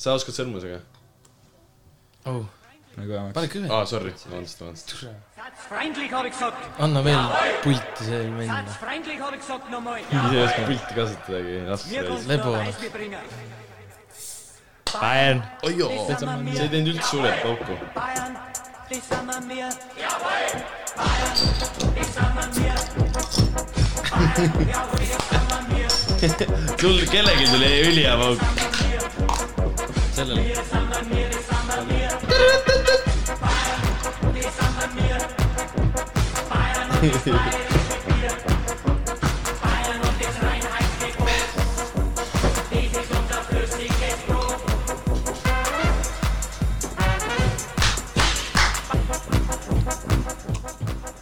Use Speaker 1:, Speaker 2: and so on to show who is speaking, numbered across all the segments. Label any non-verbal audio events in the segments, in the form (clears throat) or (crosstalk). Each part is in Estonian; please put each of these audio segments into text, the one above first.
Speaker 1: sa oskad sõrmusega ?
Speaker 2: oh,
Speaker 3: nagu vähemaks .
Speaker 2: pane kõve ,
Speaker 1: aa , sorry , vabandust , vabandust .
Speaker 4: Freundlich habe ich gesagt.
Speaker 2: anna veel pulti see minna
Speaker 4: Ganz freundlich habe ich gesagt nochmal.
Speaker 1: ise ei oska pilti kasutadagi , las
Speaker 4: Mir
Speaker 1: see
Speaker 4: kommt
Speaker 2: Lepo.
Speaker 4: noch Eisbebringer.
Speaker 3: Bayern .
Speaker 1: ojo ,
Speaker 4: Das sind wir
Speaker 1: sa ei
Speaker 4: mehr.
Speaker 1: teinud üldse suurelt pauku .
Speaker 4: Bayern, das sind wir mehr.
Speaker 1: sul kellelgi tuli ülihea pauk .
Speaker 2: sellele .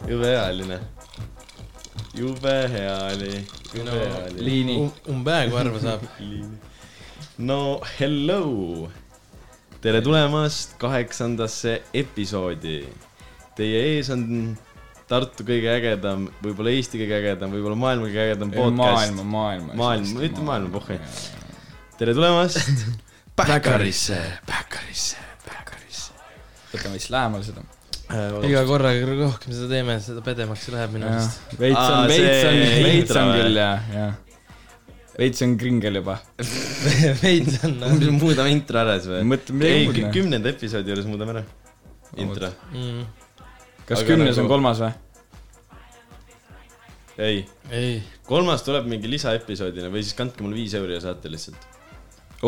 Speaker 1: jube hea oli , noh . jube hea oli , jube hea oli .
Speaker 3: liini .
Speaker 2: umbäägu Um, arva saab .
Speaker 1: no hello , tere tulemast kaheksandasse episoodi . Teie ees on Tartu kõige ägedam , võib-olla Eesti kõige ägedam , võib-olla maailma kõige ägedam podcast
Speaker 3: maailma ,. maailma .
Speaker 1: Maailma, ütle maailma, pohhui. tere
Speaker 3: (laughs)
Speaker 1: tulemast
Speaker 2: Päkkarisse , päkkarisse , päkkarisse .
Speaker 3: võtame siis lähemale seda .
Speaker 1: äh, .
Speaker 2: iga korraga rohkem seda teeme , seda pedemaks see läheb minu arust .
Speaker 3: veits
Speaker 1: Aa,
Speaker 3: on , veits
Speaker 1: see
Speaker 3: on , veits
Speaker 1: intro,
Speaker 3: on
Speaker 1: jah.
Speaker 3: küll jah , jah . veits on kringel juba .
Speaker 2: (laughs) veits on nagu
Speaker 1: muudame intro ära siis või ?
Speaker 3: mõtle , midagi
Speaker 1: ei ,
Speaker 3: muud .
Speaker 1: kümnenda episoodi juures muudame ära . intro ,
Speaker 2: mm, .
Speaker 3: kas
Speaker 1: aga
Speaker 3: kümnes
Speaker 1: nagu-
Speaker 3: on kolmas või ?
Speaker 1: ei ,
Speaker 2: ei ,
Speaker 1: kolmas tuleb mingi lisaepisoodina või siis kandke mulle viis euri ja saate lihtsalt .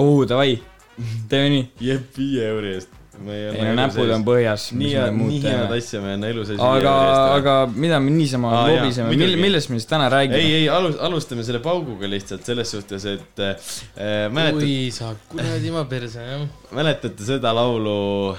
Speaker 3: oo , davai , teeme nii .
Speaker 1: jep , viie euri eest . ei nagu
Speaker 3: ei no näpud on põhjas .
Speaker 1: nii head , nii head . asja me enne elu sees .
Speaker 3: aga , aga mida me niisama
Speaker 1: Aa, jaa,
Speaker 3: lobiseme ,
Speaker 1: muidugi.
Speaker 3: millest me siis täna
Speaker 1: ei ,
Speaker 3: räägime ?
Speaker 1: ei alus- , alustame selle pauguga lihtsalt selles suhtes , et äh, mäletad ,
Speaker 2: kui sa kuradi ma perse jah .
Speaker 1: mäletate seda laulu ?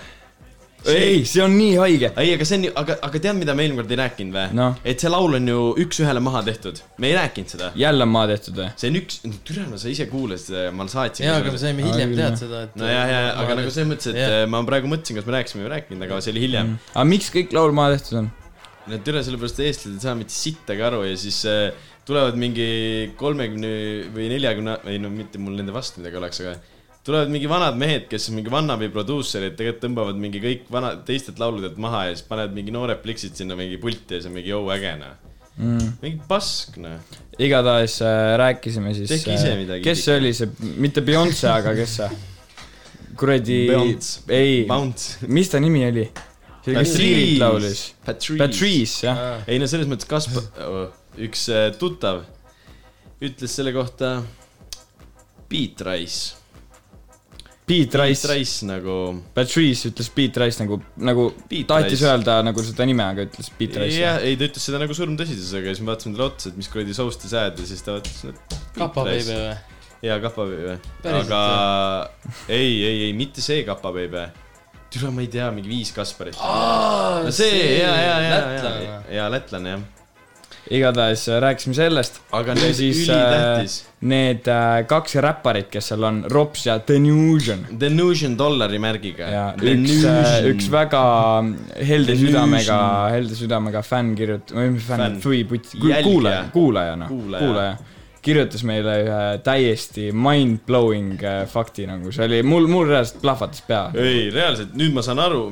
Speaker 3: ei , see on nii haige .
Speaker 1: ei , aga see on ju , aga , aga tead , mida me eelmine kord ei rääkinud või
Speaker 3: Noh.
Speaker 1: et see laul on ju üks-ühele maha tehtud , me ei rääkinud seda .
Speaker 3: jälle on maa tehtud või ?
Speaker 1: see on üks , türa , no sa ise kuulasid , ma
Speaker 2: (laughs)
Speaker 1: saatsin .
Speaker 2: jaa , aga me saime
Speaker 3: Aa,
Speaker 2: hiljem
Speaker 3: küll,
Speaker 2: teada
Speaker 3: jah.
Speaker 2: seda , et .
Speaker 1: no ja , ja , aga nagu selles mõttes , et
Speaker 2: Jah.
Speaker 1: yeah. ma praegu mõtlesin , kas me rääkisime või ei rääkinud , aga see oli hiljem mm. .
Speaker 3: aga miks kõik laul maa tehtud on ?
Speaker 1: no türa , sellepärast et eestlased ei saa mitte sittagi aru ja siis äh, tulevad mingi kolmekümne või neljakümne , ei no mitte mul nende vastu midagi oleks , aga tulevad mingi vanad mehed , kes on mingi vannabi produusserid , tegelikult tõmbavad mingi kõik vana , teistelt lauludelt maha ja siis panevad mingi noored pliksid sinna mingi pulti ja siis on mingi jõu äge noh .
Speaker 3: Mm.
Speaker 1: mingi pask noh .
Speaker 3: igatahes äh, rääkisime siis .
Speaker 1: Tehke ise midagi,
Speaker 3: kes see oli see , mitte Beyonce , aga kes see ? kuradi ,
Speaker 1: Bounce.
Speaker 3: ei ,
Speaker 1: Bounce .
Speaker 3: mis ta nimi oli ? see oli , kes Sirit laulis .
Speaker 1: Patrice, Patrice. .
Speaker 3: Patrice , jah .
Speaker 2: Ah,
Speaker 1: ei no selles mõttes Kaspar , üks äh, tuttav ütles selle kohta beat rice .
Speaker 3: Pete
Speaker 1: Rice ,
Speaker 3: Rice .
Speaker 1: rice nagu
Speaker 3: Patrice ütles Pete Rice nagu , nagu
Speaker 1: Pete
Speaker 3: tahtis
Speaker 1: Rice.
Speaker 3: öelda nagu seda nime , aga ütles Pete Rice .
Speaker 1: jah , ei ta ütles seda nagu surmtõsidusega ja siis me vaatasime talle otsa , et mis kuradi soust te sajad ja siis ta vaatas , et
Speaker 2: kapa beebe või ?
Speaker 1: jaa , kapabeebe .
Speaker 2: Päriselt
Speaker 1: aga ei , ei , ei mitte see kapabeebe . türa , ma ei tea , mingi viis Kasparit .
Speaker 2: aa
Speaker 1: no see , jaa , jaa , jaa , jaa
Speaker 2: Ah, lätlane .,
Speaker 1: jaa , lätlane jah .
Speaker 3: igatahes äh, rääkisime sellest .
Speaker 1: aga nüüd siis
Speaker 3: siis äh,
Speaker 1: ülitähtis äh... .
Speaker 3: need äh, kaks räpparit , kes seal on , Rops ja Denusion .
Speaker 1: Denusion dollari märgiga .
Speaker 3: ja üks ,
Speaker 1: äh,
Speaker 3: üks väga helde
Speaker 1: Delusion.
Speaker 3: südamega , helde südamega fänn kirjut- , või mis fänn
Speaker 1: Fänn. ,
Speaker 3: või putsi ,
Speaker 1: Jälgija.
Speaker 3: kuulaja , kuulaja noh ,
Speaker 1: Kuulaja.
Speaker 3: kuulaja , kirjutas meile ühe täiesti mind-blowing äh, fakti nagu , see oli mul , mul reaalselt plahvatas pea .
Speaker 1: ei , reaalselt , nüüd ma saan aru ,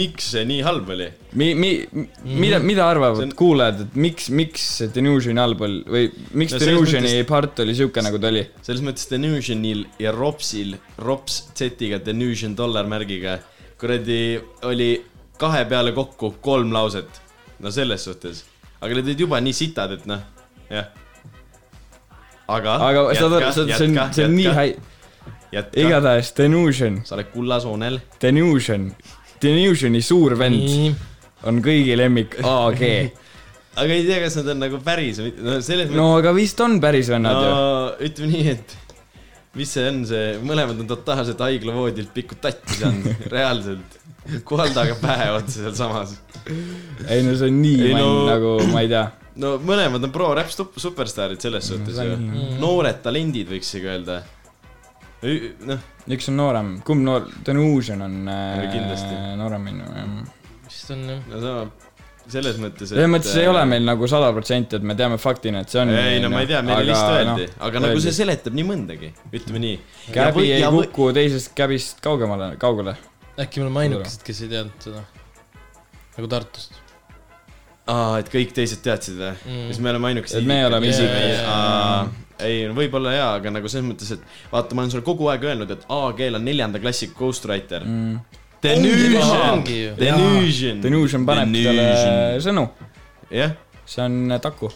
Speaker 1: miks see nii halb oli .
Speaker 3: mi- , mi- , mida , mida
Speaker 1: Mhm. See
Speaker 3: arvavad
Speaker 1: on-
Speaker 3: on... kuulajad , et miks , miks see Denusion halb oli või miks
Speaker 1: No
Speaker 3: no,
Speaker 1: selles
Speaker 3: Denusioni
Speaker 1: mõttes-
Speaker 3: mõttes... part oli siuke , nagu ta oli ?
Speaker 1: selles mõttes Denusionil ja Ropsil , Rops Z-iga , Denusion dollarmärgiga , kuradi oli kahe peale kokku kolm lauset . no selles suhtes , aga need olid juba nii sitad , et noh , jah . aga .
Speaker 3: aga saad aru , see on , see on , see on nii häi- ,
Speaker 1: häi- .
Speaker 3: igatahes Denusion ,
Speaker 1: sa oled kullasoonel ,
Speaker 3: Denusion , Denusioni suur vend
Speaker 2: nii ,
Speaker 3: on kõigi lemmik AG .
Speaker 1: aga ei tea , kas nad on nagu päris või , no selles
Speaker 3: (laughs) no aga vist on päris vennad ju .
Speaker 1: no ütleme nii , et mis see on , see , mõlemad on totaalselt haiglavoodilt pikud tatti saanud , reaalselt . kohaldaga pähe otsa sealsamas .
Speaker 3: ei no see on nii
Speaker 1: Ei,
Speaker 3: no...
Speaker 1: no-
Speaker 3: nagu , ma ei tea .
Speaker 1: no mõlemad on pro-räpp stup- superstaarid selles suhtes
Speaker 3: see
Speaker 1: ju
Speaker 3: on- .
Speaker 5: Mm.
Speaker 1: noored talendid , võiks isegi öelda . noh ,
Speaker 3: üks on noorem , kumb noor , Denusion on
Speaker 1: kindlasti.
Speaker 3: äh, noorem minu ,
Speaker 2: vist on jah .
Speaker 1: no sama , selles mõttes , et .
Speaker 3: selles mõttes ei ole meil nagu sada protsenti , et me teame faktina , et see on . noh,
Speaker 1: ei no ma ei tea , meile lihtsalt öeldi , aga nagu see . seletab nii mõndagi , ütleme nii .
Speaker 3: käbi ei kuku teisest käbist kaugemale , kaugele .
Speaker 5: äkki me oleme ainukesed , kes ei teadnud seda . nagu Tartust .
Speaker 1: aa , et kõik teised teadsid või mm. ?
Speaker 5: Mm.
Speaker 1: siis me oleme ainukesed .
Speaker 3: Et me oleme
Speaker 5: esimesed.
Speaker 1: ei , võib-olla jaa , aga nagu selles mõttes , et vaata , ma olen sulle kogu aeg öelnud , et A-keel on neljanda klassi Ghostwriter mm. . Denusion
Speaker 5: Ongi ju. ,
Speaker 1: Denusion .
Speaker 3: Denusion paneb talle sõnu ,
Speaker 1: jah ,
Speaker 3: see on äh, taku .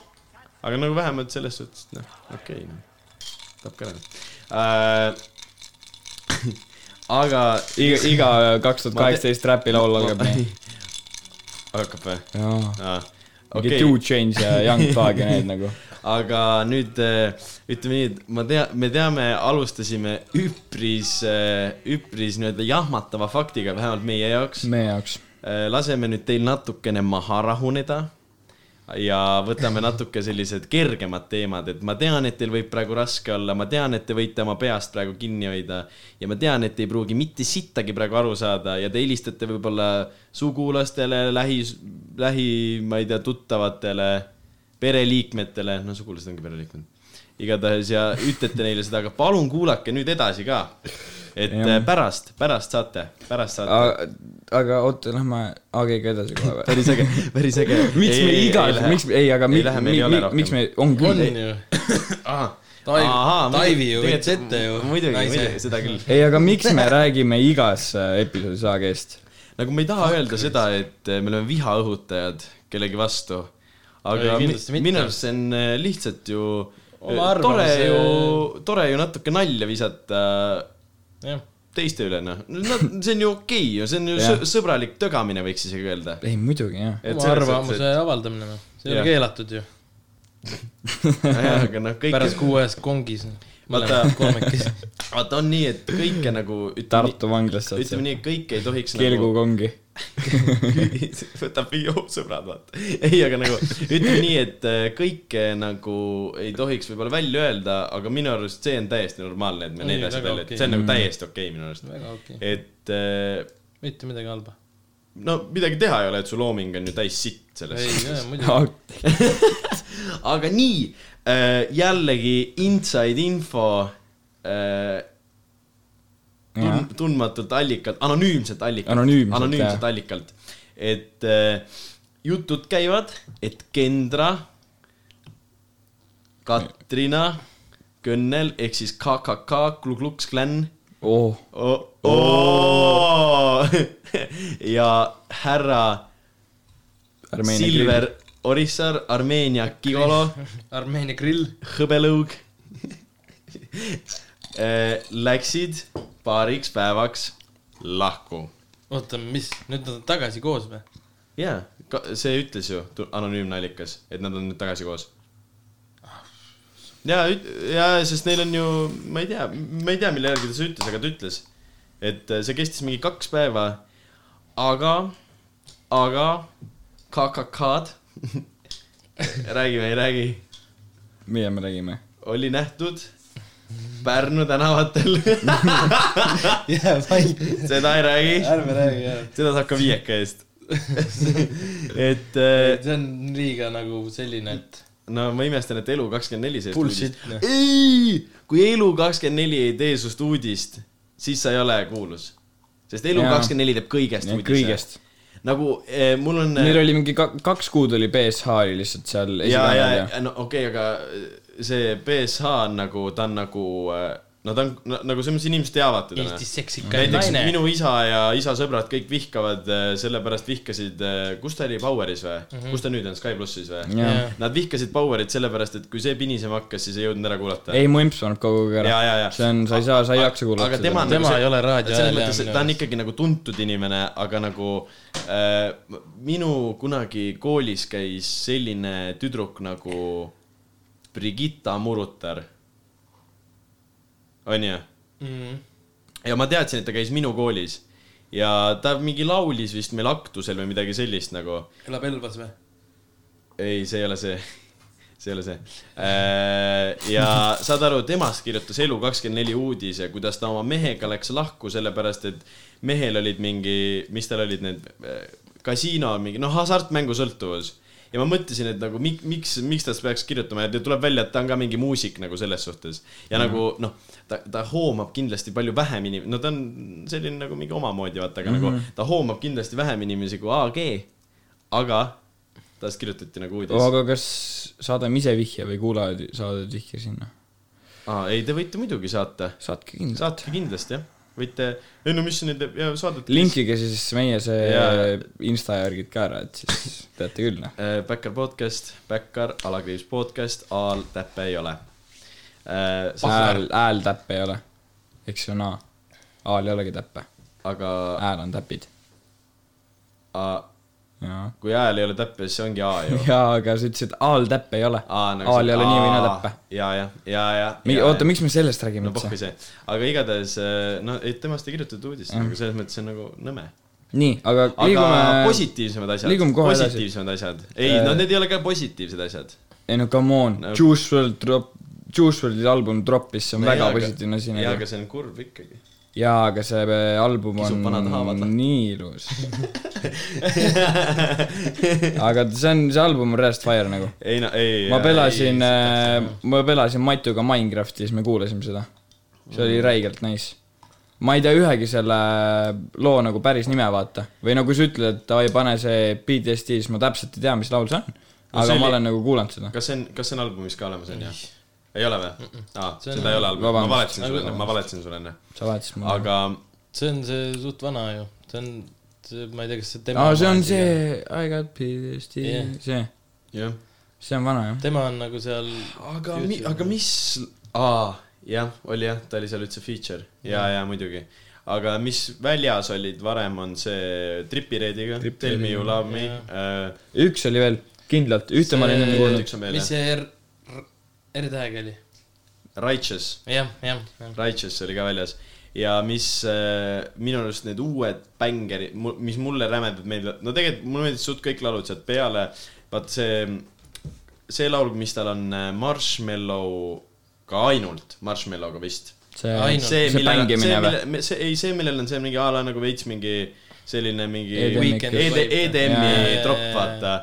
Speaker 1: aga nagu vähemalt selles suhtes , et noh , okei okay. , tapke ära äh, . aga
Speaker 3: iga , iga äh, kaks tuhat
Speaker 1: Ma te-
Speaker 3: kaheksateist räpi laul
Speaker 1: (laughs)
Speaker 3: algab nii .
Speaker 1: hakkab või ?
Speaker 3: jaa . mingi
Speaker 1: okei
Speaker 3: Two Change ja Young Thug ja need nagu .
Speaker 1: aga nüüd äh, ütleme nii , et ma tea , me teame , alustasime üpris , üpris nii-öelda jahmatava faktiga , vähemalt meie jaoks .
Speaker 3: meie jaoks .
Speaker 1: Äh, laseme nüüd teil natukene maha rahuneda ja võtame natuke sellised kergemad teemad , et ma tean , et teil võib praegu raske olla , ma tean , et te võite oma peast praegu kinni hoida ja ma tean , et te ei pruugi mitte sittagi praegu aru saada ja te helistate võib-olla sugulastele , lähi , lähi , ma ei tea , tuttavatele , pereliikmetele , no sugulased ongi pereliikmed , igatahes ja ütlete neile seda , aga palun kuulake nüüd edasi ka . et äh,
Speaker 3: Jah.
Speaker 1: pärast , pärast saate , pärast saate .
Speaker 3: aga oota , lähme AG-ga edasi kohe (laughs) või ?
Speaker 1: päris äge , päris (laughs) äge .
Speaker 3: miks me iga , miks , ei , aga
Speaker 1: ei
Speaker 3: mi-
Speaker 1: lähe , meil ei ole
Speaker 3: mi-
Speaker 1: rohkem .
Speaker 3: miks me , on
Speaker 5: on
Speaker 3: küll .
Speaker 5: ju . Taivi- Taivi ju võttis ette ju.
Speaker 1: muidugi ,
Speaker 5: Naise.
Speaker 1: muidugi , seda küll .
Speaker 3: ei , aga miks me räägime igas äh, episoodis AG-st ?
Speaker 1: nagu me ei taha öelda seda , et eh, me oleme vihaõhutajad kellegi vastu , aga
Speaker 5: Ei,
Speaker 1: mi-
Speaker 5: kindlasti mitte.
Speaker 1: minu arust see on eh, lihtsalt ju
Speaker 5: Oma
Speaker 1: eh, tore
Speaker 5: arvamuse-
Speaker 1: ju , tore ju natuke nalja visata
Speaker 5: jah ,
Speaker 1: teiste üle , noh . no see on ju okei ju , see on ju
Speaker 3: Jah.
Speaker 1: sõ- sõbralik tögamine , võiks isegi öelda .
Speaker 3: ei , muidugi jah .
Speaker 1: Et (laughs)
Speaker 5: oma
Speaker 1: selles
Speaker 5: arvamuse
Speaker 1: suhtes,
Speaker 5: avaldamine , noh . see ei
Speaker 1: Jah.
Speaker 5: ole keelatud ju .
Speaker 1: jah , aga noh , kõik
Speaker 5: pärast , kuu ajast kongis .
Speaker 1: Vaata-
Speaker 5: mõlemad kolmekesi .
Speaker 1: vaata on nii , et kõike nagu ütleme
Speaker 3: Tartu vanglast saad sa
Speaker 1: ütleme . nii , et kõike ei tohiks nagu
Speaker 3: kelgukongi .
Speaker 1: (laughs) võtab jõu sõbrad , vaata . ei , aga nagu ütleme nii , et äh, kõike nagu ei tohiks võib-olla välja öelda , aga minu arust see on täiesti normaalne , et me need
Speaker 5: Ei,
Speaker 1: asjad
Speaker 5: väga
Speaker 1: välja ,
Speaker 5: okei.
Speaker 1: see on nagu täiesti okei minu arust .
Speaker 5: (laughs) väga okei okay. ,
Speaker 1: et äh,
Speaker 5: mitte midagi halba .
Speaker 1: no midagi teha ei ole , et su looming on ju täis sitt selles
Speaker 5: ei ,
Speaker 1: suhtes .
Speaker 5: muidugi .
Speaker 1: aga nii , jällegi inside info äh, tun- , tundmatult allikalt , anonüümselt allikalt .
Speaker 3: Anonüümselt,
Speaker 1: anonüümselt
Speaker 3: jah.
Speaker 1: allikalt . et äh, jutud käivad , et Kendra , Katrina , Kõnnel ehk siis KKK , Ku Klux Klan
Speaker 3: oh ,
Speaker 1: oh, . Oh. (laughs) ja härra
Speaker 3: Armeenia
Speaker 1: Silver Orissar , Armeenia Gigolo ,
Speaker 5: Armeenia grill .
Speaker 1: (laughs) hõbelõug äh, . Läksid paariks päevaks lahku
Speaker 5: oota , mis , nüüd nad on tagasi koos
Speaker 1: (laughs)
Speaker 5: või ?
Speaker 1: jaa , see ütles ju tu- anonüümne allikas , et nad on nüüd tagasi koos . ja , ja sest neil on ju , ma ei tea , ma ei tea , mille järgi ta seda ütles , aga ta ütles , et eh, see kestis mingi kaks päeva . aga , aga KKK-d räägime , ei (laughs) räägi ,
Speaker 3: mida me räägime ?
Speaker 1: oli nähtud Pärnu tänavatel , (laughs)
Speaker 5: jää vait ,
Speaker 1: seda ei räägi ,
Speaker 5: ärme räägi jah .
Speaker 1: seda saab ka viieka
Speaker 3: (laughs)
Speaker 1: eest . et äh,
Speaker 5: see on liiga nagu selline , et
Speaker 1: no ma imestan , et Elu24 seest
Speaker 5: Bullshit, noh.
Speaker 1: uudist . ei , kui Elu24 ei tee sinust uudist , siis sa ei ole kuulus . sest Elu24 teeb kõigest
Speaker 3: Jaa,
Speaker 1: uudise .
Speaker 3: kõigest. .
Speaker 1: nagu eh, mul on .
Speaker 3: meil oli mingi ka- kaks kuud oli BSH oli lihtsalt seal
Speaker 1: ja , ja
Speaker 3: esipäeval , ja
Speaker 1: ja no okei okay, , aga äh, see BSH on nagu , ta on nagu , no ta on noh. na- nagu selles mõttes inimesed teavad teda .
Speaker 5: Eestis seksikaid
Speaker 1: näiteks
Speaker 5: naine
Speaker 1: naine. . minu isa ja isa sõbrad kõik vihkavad , sellepärast vihkasid , kus ta oli , Poweris või mm ?
Speaker 5: Mhm.
Speaker 1: -hmm. kus ta nüüd on , Sky plussis või ?
Speaker 3: Jaa.
Speaker 5: jah ,
Speaker 1: Nad vihkasid Powerit sellepärast , et kui see pinisema hakkas , siis ei jõudnud ära kuulata .
Speaker 3: ei , mu imps paneb kogu aeg
Speaker 1: ja ,
Speaker 3: ära .
Speaker 1: ja , ja .
Speaker 3: see on , sa ei saa , sa ei jaksa
Speaker 1: aga
Speaker 3: kuulata
Speaker 1: tema
Speaker 3: seda .
Speaker 1: on
Speaker 5: Tema
Speaker 1: nagu
Speaker 5: ei ole raadio
Speaker 1: selles
Speaker 5: hääl,
Speaker 1: mõttes , et
Speaker 5: jah, minu
Speaker 1: ta on ikkagi nagu tuntud inimene , aga nagu äh, minu kunagi koolis käis selline tüdruk nagu Brigitta Murutar . onju
Speaker 5: Mhm.
Speaker 1: ja ma teadsin , et ta käis minu koolis ja ta mingi laulis vist meil aktusel või midagi sellist nagu .
Speaker 5: elab Elvas või ?
Speaker 1: ei , see ei ole see , see ei ole see . ja saad aru , temast kirjutas Elu24 uudise , kuidas ta oma mehega läks lahku , sellepärast et mehel olid mingi , mis tal olid need äh, kasiino on mingi , noh , hasartmängusõltuvus . ja ma mõtlesin , et nagu mik- , miks , miks ta seda peaks kirjutama ja tuleb välja , et ta on ka mingi muusik nagu selles suhtes . ja mm -hmm. nagu noh , ta , ta hoomab kindlasti palju vähem inimesi , no ta on selline nagu mingi omamoodi , vaata , aga mm -hmm. nagu ta hoomab kindlasti vähem inimesi kui AG . aga tast kirjutati nagu uudis oh, . Aga...
Speaker 3: aga kas saadame ise vihje või kuulajad saadavad vihje sinna ?
Speaker 1: Ah, ei , te võite muidugi saata ,
Speaker 3: saatke kindlasti .
Speaker 1: saate kindlasti jah , võite , ei no mis nende ja saadete .
Speaker 3: linkige siis meie
Speaker 1: Jaa.
Speaker 3: see insta järgid ka ära , et siis (laughs) teate küll , noh .
Speaker 1: Äh, Backyard podcast , Backyard , alakriips podcast , A-l täppe ei ole . Äh,
Speaker 3: hääl , hääl täppe ei ole . eks see on A . A-l ei olegi täppe .
Speaker 1: aga
Speaker 3: hääl on täpid .
Speaker 1: a,
Speaker 3: jaa .
Speaker 1: kui A-l ei ole täppe , siis see ongi A
Speaker 3: (laughs)
Speaker 1: ju .
Speaker 3: jaa , aga sa ütlesid , et A-l täppe ei ole .
Speaker 1: nagu
Speaker 3: A-l ei ole nii või naa täppe .
Speaker 1: ja , ja , ja , ja .
Speaker 3: oota ,? miks me sellest räägime
Speaker 1: no pohhu
Speaker 3: üldse ?
Speaker 1: see , aga igatahes äh, no ei, temast ei kirjutatud uudist , aga selles mõttes see on nagu nõme .
Speaker 3: nii , aga
Speaker 1: aga
Speaker 3: Mm. liigume ,
Speaker 1: positiivsemad asjad ,
Speaker 3: liigume kohe edasi.
Speaker 1: positiivsemad asjad , ei
Speaker 3: Äh,
Speaker 1: no need ei ole ka positiivsed asjad .
Speaker 3: ei no come on
Speaker 1: No.
Speaker 3: no. , Juice WRLD drop , Juice WRLD'i album droppis , see on no, väga jaa, positiivne asi
Speaker 1: jaa ,
Speaker 3: nagu .
Speaker 1: aga see on kurb ikkagi .
Speaker 3: jaa , aga see äh, album
Speaker 1: Kisub vanad haavad
Speaker 3: on
Speaker 1: lahti.
Speaker 3: nii
Speaker 1: (laughs)
Speaker 3: ilus . aga see on , see album on reast fire nagu .
Speaker 1: ei no , ei .
Speaker 3: ma pelasin , ma pelasin Matuga Minecrafti ja siis me kuulasime seda . see oli
Speaker 1: Mm.
Speaker 3: räigelt nice . ma ei tea ühegi selle loo nagu päris nime , vaata . või no kui sa ütled , et davai , pane see PTSD , siis ma täpselt ei tea , mis laul see on . aga
Speaker 1: see
Speaker 3: ma
Speaker 1: oli-
Speaker 3: olen nagu kuulanud seda .
Speaker 1: kas see on , kas see on albumis ka olemas , on ju ? ei ole või ? aa ,
Speaker 5: See on-
Speaker 1: seda ei ole albumis , ma
Speaker 3: vabandust.
Speaker 1: valetasin
Speaker 3: Mhm.
Speaker 1: sulle enne , ma valetasin sulle enne .
Speaker 3: sa vaatasid mulle aga... ?
Speaker 1: aga
Speaker 5: see on see suht vana ju , see on , see , ma ei tea , kas see tema
Speaker 3: aa , see on see I got PTSD
Speaker 5: Jah.
Speaker 3: yeah. , see ,
Speaker 1: jah .
Speaker 3: see on vana jah .
Speaker 5: tema on nagu seal
Speaker 1: aga mi- , aga mis , aa , jah , oli jah , ta oli seal üldse feature ja , ja muidugi . aga mis väljas olid varem , on see Tripi Reediga ,
Speaker 3: Tripi
Speaker 1: Tell me you love me äh,
Speaker 5: Jah. .
Speaker 3: üks oli veel , kindlalt , ühte ma olin enne kuulnud .
Speaker 1: üks on veel,
Speaker 5: mis see R , R-tähega oli ?
Speaker 1: Righteous ,
Speaker 5: jah , jah , jah .
Speaker 1: Righteous oli ka väljas ja mis äh, minu arust need uued bängerid , mis mulle rämedalt meeldivad , no tegelikult mulle meeldis suht kõik laulud sealt peale , vaat see , see laul , mis tal on äh, Marshmallow'ga ainult , Marshmallow'ga vist .
Speaker 3: see ,
Speaker 5: Ainult.
Speaker 1: see ,
Speaker 3: see
Speaker 1: millel , see
Speaker 3: mängimine , või ?
Speaker 1: mille , see ei , see , millel on see mingi a la nagu veits mingi selline mingi
Speaker 3: EDM
Speaker 1: ED-
Speaker 3: ikka. Jaa,
Speaker 1: EDM-i
Speaker 5: jaa, jaa,
Speaker 1: tropp ,
Speaker 5: jaa.
Speaker 1: vaata .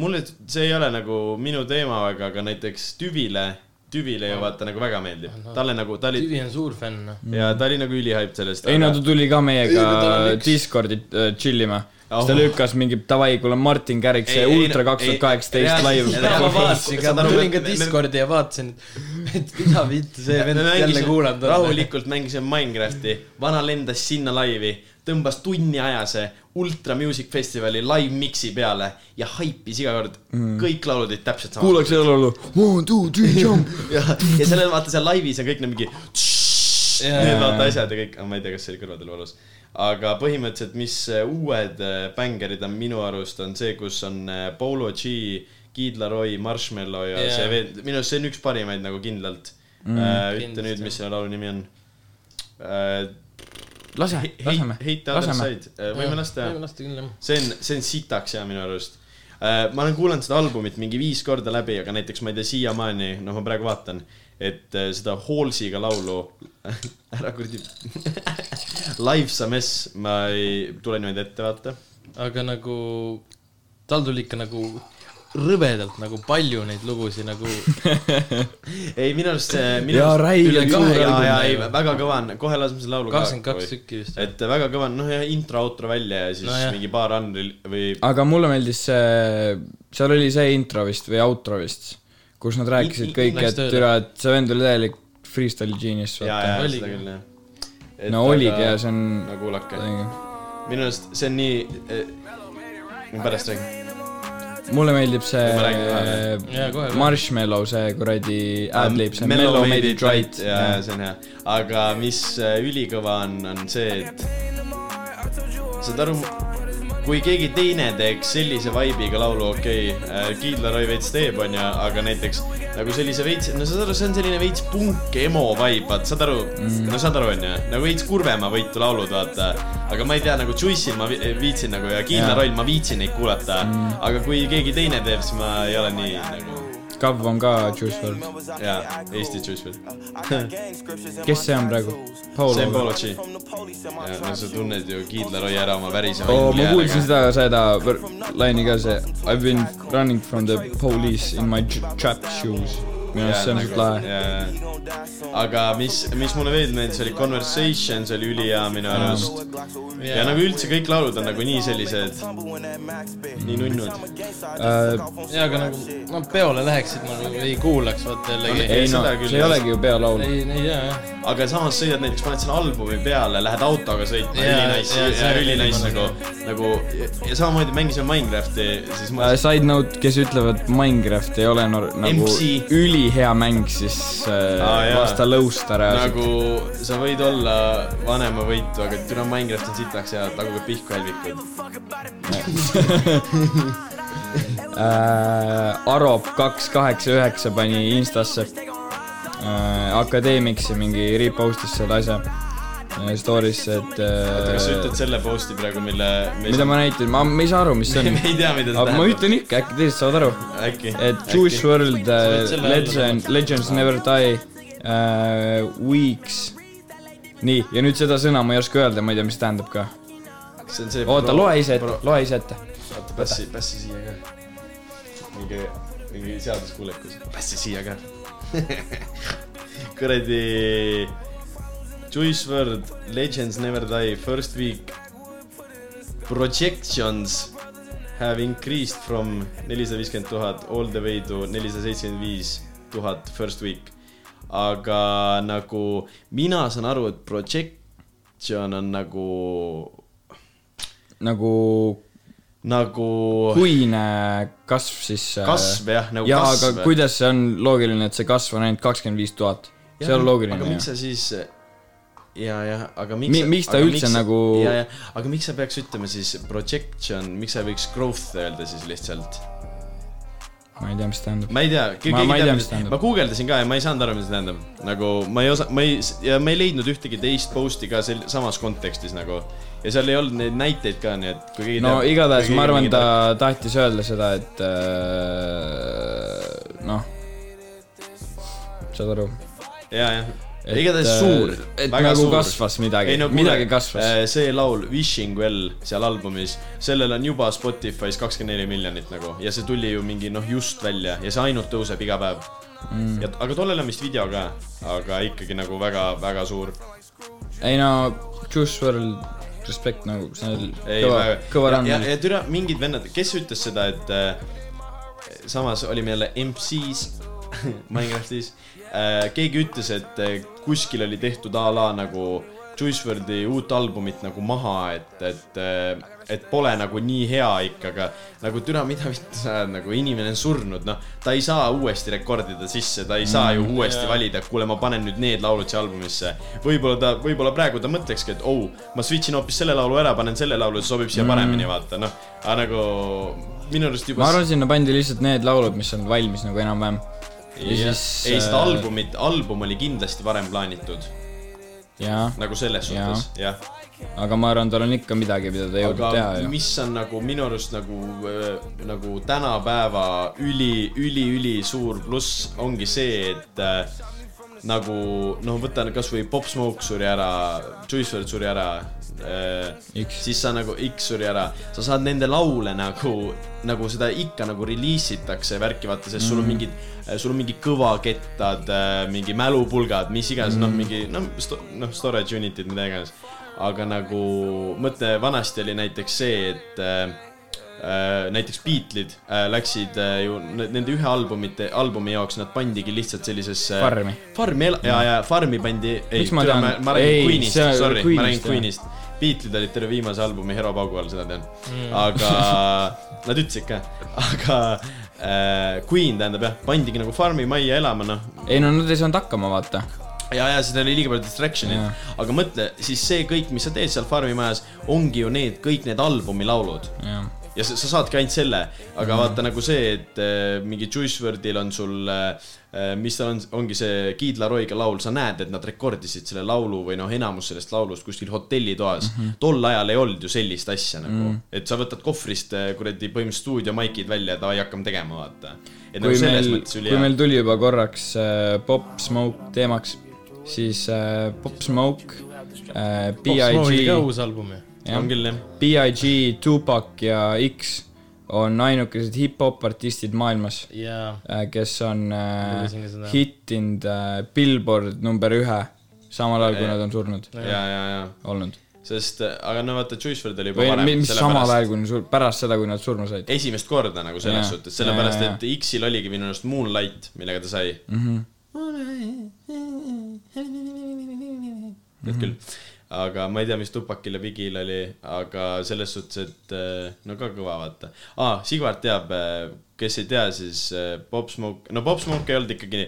Speaker 1: mulle t- see ei ole nagu minu teema , aga , aga näiteks Tüvile , Tüvile ju vaata nagu väga meeldib , talle nagu , ta oli
Speaker 5: Tüvi on suur fänn , noh .
Speaker 1: ja ta oli nagu ülihaip sellest .
Speaker 3: ei no ta tuli ka meiega Discordi äh, chill ima . siis ta
Speaker 1: Oh.
Speaker 3: lükas mingi davai , kuule Martin Kärik , see Ultra kaks tuhat kaheksateist live .
Speaker 5: vaatasin , ma tulin ka Discordi ja vaatasin , et mida vittu see vend jälle kuulanud on .
Speaker 1: rahulikult mängisime Minecrafti , vana lendas sinna laivi , tõmbas tunniajase Ultra Music Festivali live mix'i peale ja haipis iga kord mm. , kõik laulud olid täpselt samad .
Speaker 3: kuulaks seda laulu . One , two , three , jump .
Speaker 1: ja , ja sellel vaata seal laivis on kõik need mingi
Speaker 5: Jaa.
Speaker 1: need vaata asjad ja kõik , ma ei tea , kas see oli kõrvadel valus . aga põhimõtteliselt , mis äh, uued äh, bängerid on minu arust , on see , kus on äh, Polo G , Kid Laroi , Marshmallow ja
Speaker 5: Jaa.
Speaker 1: yeah. see veel , minu arust see on üks parimaid nagu kindlalt mm, . ütle nüüd , mis selle laulu nimi on .
Speaker 3: lase , laseme ,
Speaker 1: Hate Other
Speaker 3: laseme .
Speaker 1: Side , võime lasta jah
Speaker 5: võime ? lasta küll , jah .
Speaker 1: see on , see on sitaks hea minu arust . ma olen kuulanud seda albumit mingi viis korda läbi , aga näiteks ma ei tea siiamaani , noh , ma praegu vaatan , et äh, seda Hallsiga laulu (laughs) ära kuradi (laughs) Life's a mess , ma ei tule niimoodi ette , vaata .
Speaker 5: aga nagu tal tuli ikka nagu rõvedalt nagu palju neid lugusid nagu
Speaker 1: ei , minu arust see , minu
Speaker 3: Jaa, räigelt
Speaker 1: üle
Speaker 5: suur
Speaker 1: kahe ja ,
Speaker 5: album
Speaker 1: ja
Speaker 5: on
Speaker 1: ei
Speaker 5: ju. ,
Speaker 1: väga kõva on , kohe laseme selle laulu ka-
Speaker 5: 22
Speaker 1: või-
Speaker 5: tükki vist.
Speaker 1: et väga kõva on , noh , ja intro-outro välja ja siis
Speaker 5: Nojah.
Speaker 1: mingi paar unreal või
Speaker 3: (laughs) aga mulle meeldis see , seal oli see intro vist või outro vist , kus nad rääkisid
Speaker 1: In- in-
Speaker 3: kõik ,
Speaker 5: läks
Speaker 3: et
Speaker 5: tööle.
Speaker 3: türa , et see vend oli täielik freestyle genius .
Speaker 1: ja , ja
Speaker 5: oligi.
Speaker 1: seda küll , jah .
Speaker 3: no oligi ja see on .
Speaker 1: no kuulake , minu arust see on nii eh, , ma pärast räägin .
Speaker 3: mulle meeldib
Speaker 1: Ma räägin kohe. Ah,
Speaker 5: Jaa, kohe,
Speaker 3: see
Speaker 5: kohe.
Speaker 3: Marshmallow , see kuradi ad-lib , see
Speaker 1: Ähm, Mellow
Speaker 3: Mellow made it right .
Speaker 1: ja , ja see on hea , aga mis äh, ülikõva on , on see , et saad aru , kui keegi teine teeks sellise vibe'iga laulu , okei okay, , Kiidla Roy veits teeb , onju , aga näiteks nagu sellise veits , no saad aru , see on selline veits punk emo vibe , vaat saad aru mm. , no saad aru , onju , nagu veits kurvema võitu laulud , vaata . aga ma ei tea , nagu Juice'il ma vi- viitsin nagu ja Kiidla
Speaker 3: Jaa.
Speaker 1: Roy'l ma viitsin neid kuulata mm. , aga kui keegi teine teeb , siis ma ei ole nii nagu
Speaker 3: Skav on ka Juice WRLD .
Speaker 1: jaa , (laughs) Eesti Juice WRLD .
Speaker 3: kes see on praegu ?
Speaker 1: see on
Speaker 3: Paul .
Speaker 1: Polo G . ja no sa tunned ju Kiidla Roy ära oma väriseva
Speaker 3: oo ,
Speaker 1: ingli
Speaker 3: Oh, ma
Speaker 1: häälega.
Speaker 3: kuulsin seda , seda vär- laine ka , see I have been running from the police in my j- trap shoes . minu arust see on
Speaker 1: nagu-
Speaker 3: siuke lahe .
Speaker 1: lahe . aga mis , mis mulle veel meeldis , oli Conversation , see oli ülihea minu arust . ja nagu üldse kõik laulud on nagu nii sellised , nii nunnud .
Speaker 5: jaa , aga nagu , no peole läheksid , nagu ei kuulaks , vaata
Speaker 1: Ei,
Speaker 5: jällegi .
Speaker 3: ei no
Speaker 1: seda , küll
Speaker 3: see ei
Speaker 1: jah.
Speaker 3: olegi ju pealaul .
Speaker 5: ei , ei jaa , jah .
Speaker 1: aga samas sõidad näiteks , paned selle albumi peale , lähed autoga sõitma ,
Speaker 5: Jaa,
Speaker 1: ülinais
Speaker 5: jaa, , see on
Speaker 1: ülinais
Speaker 5: ülimõnus.
Speaker 1: nagu , nagu ja, ja samamoodi mängisime Minecrafti , siis ma
Speaker 3: Uh, Side note , kes ütlevad , Minecraft ei ole nor- nagu
Speaker 1: MC.
Speaker 3: ülihea mäng , siis äh,
Speaker 1: Aa, jaa.
Speaker 3: vasta lõust ära .
Speaker 1: nagu sa võid olla vanemavõitu , aga türa Minecraft on sitaks ja taguge pihku helvikud .
Speaker 3: äh, Arop kaks kaheksa üheksa pani Instasse äh, akadeemikse mingi repostis selle asja äh, story'sse , et
Speaker 1: kas sa
Speaker 3: äh,
Speaker 1: ütled selle posti praegu , mille me
Speaker 3: mida ma näitan , ma , ma ei saa aru , mis see
Speaker 1: (laughs) me
Speaker 3: on .
Speaker 1: (laughs) ei tea , mida see
Speaker 3: aga ma
Speaker 1: tähendab .
Speaker 3: ütlen ikka , äkki teised saavad aru ,
Speaker 1: äkki ,
Speaker 3: et Jewish World
Speaker 5: võid
Speaker 3: äh,
Speaker 5: selle
Speaker 3: Legend , Legends Never Die äh, Weeks . nii , ja nüüd seda sõna ma ei oska öelda , ma ei tea , mis see tähendab ka .
Speaker 1: see on see .
Speaker 3: oota , loe ise ette , loe ise ette .
Speaker 1: oota , passi , passi siia ka . mingi , mingi seaduskuulekus . passi siia ka . (laughs) kuradi . Juice WRLD , Legends Never Die , First Week . Projections have increased from nelisada viiskümmend tuhat all the way to nelisada seitsekümmend viis tuhat first week . aga nagu mina saan aru , et projection on nagu ,
Speaker 3: nagu
Speaker 1: nagu
Speaker 3: kuine kasv siis .
Speaker 1: kasv jah , nagu
Speaker 3: jaa ,
Speaker 1: kasv .
Speaker 3: aga kuidas see on loogiline , et see kasv on ainult kakskümmend viis tuhat ? see on
Speaker 1: aga
Speaker 3: loogiline
Speaker 1: miks
Speaker 3: ju .
Speaker 1: sa siis , ja , jah , aga miks
Speaker 3: Mi- miks ta
Speaker 1: aga
Speaker 3: üldse nagu-
Speaker 1: ja , ja , aga miks sa peaks ütlema siis projection , miks sa ei võiks growth öelda siis lihtsalt ?
Speaker 3: ma ei tea , mis tähendab .
Speaker 1: ma ei tea ,
Speaker 3: Ma- ma ei
Speaker 1: keegi
Speaker 3: tea,
Speaker 1: ei
Speaker 3: mis
Speaker 1: tea ,
Speaker 3: tähendab.
Speaker 1: ma guugeldasin ka ja ma ei saanud aru , mis see tähendab . nagu ma ei osa , ma ei , ja ma ei leidnud ühtegi teist post'i ka sel- , samas kontekstis nagu . ja seal ei olnud neid näiteid ka , nii et kui keegi
Speaker 3: no
Speaker 1: teab-
Speaker 3: igatahes
Speaker 1: kui
Speaker 3: ma
Speaker 1: keegi
Speaker 3: arvan ,
Speaker 1: mingi
Speaker 3: ta
Speaker 1: teab-
Speaker 3: tahtis öelda seda , et äh, noh , saad aru .
Speaker 1: ja , jah . igatahes suur ,
Speaker 3: et
Speaker 1: väga
Speaker 3: nagu
Speaker 1: suur .
Speaker 3: kasvas midagi
Speaker 1: ei no , kuule,
Speaker 3: midagi kasvas .
Speaker 1: äh, see laul Wishing Well seal albumis , sellel on juba Spotify's kakskümmend neli miljonit nagu ja see tuli ju mingi noh , just välja ja see ainult tõuseb iga päev mm. . ja , aga tollel on vist video ka , aga ikkagi nagu väga-väga suur .
Speaker 3: ei no , Juice WRLD , respekt nagu , see on
Speaker 1: ei ,
Speaker 3: kõva , kõva
Speaker 1: ja ,
Speaker 3: rand .
Speaker 1: ja türa , mingid vennad , kes ütles seda , et äh, samas olime jälle MC-s (laughs) Minecraftis äh, . keegi ütles , et äh, kuskil oli tehtud a la nagu Juice WRLD-i uut albumit nagu maha , et , et äh, , et pole nagu nii hea ikka , aga nagu türa , mida vittu sa ajad , nagu inimene on surnud , noh , ta ei saa uuesti rekordida sisse , ta ei saa
Speaker 3: Mm,
Speaker 1: ju uuesti valida , et kuule , ma panen nüüd need laulud siia albumisse . võib-olla ta , võib-olla praegu ta mõtlekski , et oh , ma switch in hoopis selle laulu ära , panen selle laulu , see sobib siia paremini , vaata , noh , aga nagu minu arust juba
Speaker 3: Mm. ma arvan , sinna pandi lihtsalt need laulud , mis on valmis nagu enam-vähem . ja
Speaker 1: Jah.
Speaker 3: siis . äh,
Speaker 1: ei , seda . albumit , album oli kindlasti varem plaanitud ,
Speaker 3: jaa
Speaker 1: nagu selles
Speaker 3: Jaa.
Speaker 1: suhtes , jah .
Speaker 3: aga ma arvan , tal on ikka midagi , mida ta jõudnud teha
Speaker 1: aga
Speaker 3: ju .
Speaker 1: mis on nagu minu arust nagu , nagu tänapäeva üli , üli-üli suur pluss ongi see , et äh, nagu noh , võtan kasvõi Pop Smoke suri ära , Juice WRLD suri ära äh, ,
Speaker 3: X.
Speaker 1: siis sa nagu X suri ära , sa saad nende laule nagu , nagu seda ikka nagu reliisitakse ja värki , vaata , sest sul on mingid , sul on mingi kõvakettad , mingi mälupulgad , mis iganes mm. , noh , mingi noh sto, , noh , storage unit'id , mida iganes . aga nagu mõte vanasti oli näiteks see , et äh, Äh, näiteks Beatlesid äh, läksid äh, ju ne- nende ühe albumite , albumi jaoks nad pandigi lihtsalt sellisesse
Speaker 3: Farmi.
Speaker 1: Äh, farmi ela- ja , ja farmi pandi , ei
Speaker 3: Miks ma , tean?
Speaker 1: ma, ma räägin
Speaker 3: Ei,
Speaker 1: Queenist
Speaker 3: see- ,
Speaker 1: sorry , ma
Speaker 3: Queenist,
Speaker 1: räägin
Speaker 3: jah.
Speaker 1: Queenist . Beatlesid olid terve viimase albumi Hero paugu all , seda tean mm. .
Speaker 3: (laughs)
Speaker 1: aga nad ütlesid ka , aga äh, Queen tähendab jah , pandigi nagu farmi majja elama , noh .
Speaker 3: ei no nad ei saanud hakkama , vaata .
Speaker 1: ja , ja seda oli liiga palju distraction'id
Speaker 3: Jaa. .
Speaker 1: aga mõtle , siis see kõik , mis sa teed seal farmi majas , ongi ju need , kõik need albumi laulud
Speaker 3: jah , Mhm.
Speaker 1: ja sa, sa saadki ainult selle , aga mm. vaata nagu see , et äh, mingi Juice WRLD-il on sul äh, mis tal on , ongi see Kid Laroiga laul , sa näed , et nad rekordisid selle laulu või noh , enamus sellest laulust kuskil hotellitoas
Speaker 3: Mhm.
Speaker 1: mm . -hmm. tol ajal ei olnud ju sellist asja nagu mm , -hmm. et sa võtad kohvrist eh, kuradi põhimõtteliselt stuudiomaikid välja ja davai , hakkame tegema , vaata . et nagu
Speaker 3: kui
Speaker 1: selles
Speaker 3: meil ,
Speaker 1: mõttes
Speaker 3: kui
Speaker 1: ülihea
Speaker 3: meil tuli juba korraks äh, Pop Smoke teemaks , siis äh, Pop Smoke äh, ,
Speaker 5: Smoke'il ka
Speaker 3: B.I.G ,
Speaker 5: uus album ju .
Speaker 3: jah.
Speaker 1: on küll jah
Speaker 3: B.I.G , Tupac ja X on ainukesed hip-hop artistid maailmas ,
Speaker 5: jaa ,
Speaker 3: kes on
Speaker 5: Ma
Speaker 3: äh,
Speaker 5: lugesin ka seda.
Speaker 3: hittinud äh, Billboard number ühe , samal ajal kui nad on surnud
Speaker 1: ja , ja , ja ,
Speaker 3: olnud .
Speaker 1: sest , aga no vaata , Juice WRLD oli juba
Speaker 3: või mi-
Speaker 1: varem ,
Speaker 3: mis
Speaker 1: sellepärast
Speaker 3: samal ajal , kui nad sur- , pärast seda , kui nad surma said .
Speaker 1: esimest korda nagu selles
Speaker 3: Jaa.
Speaker 1: suhtes , sellepärast
Speaker 3: Jaa, jaa, Mhm.
Speaker 1: et X-il oligi minu arust Moonlight , millega ta sai mm . -hmm. tead küll , aga ma ei tea , mis Tupakil ja Bigil oli , aga selles suhtes , et eh, no ka kõva , vaata ah, . Sigvard teab , kes ei tea , siis eh, Pop Smoke , no Pop Smoke ei olnud ikkagi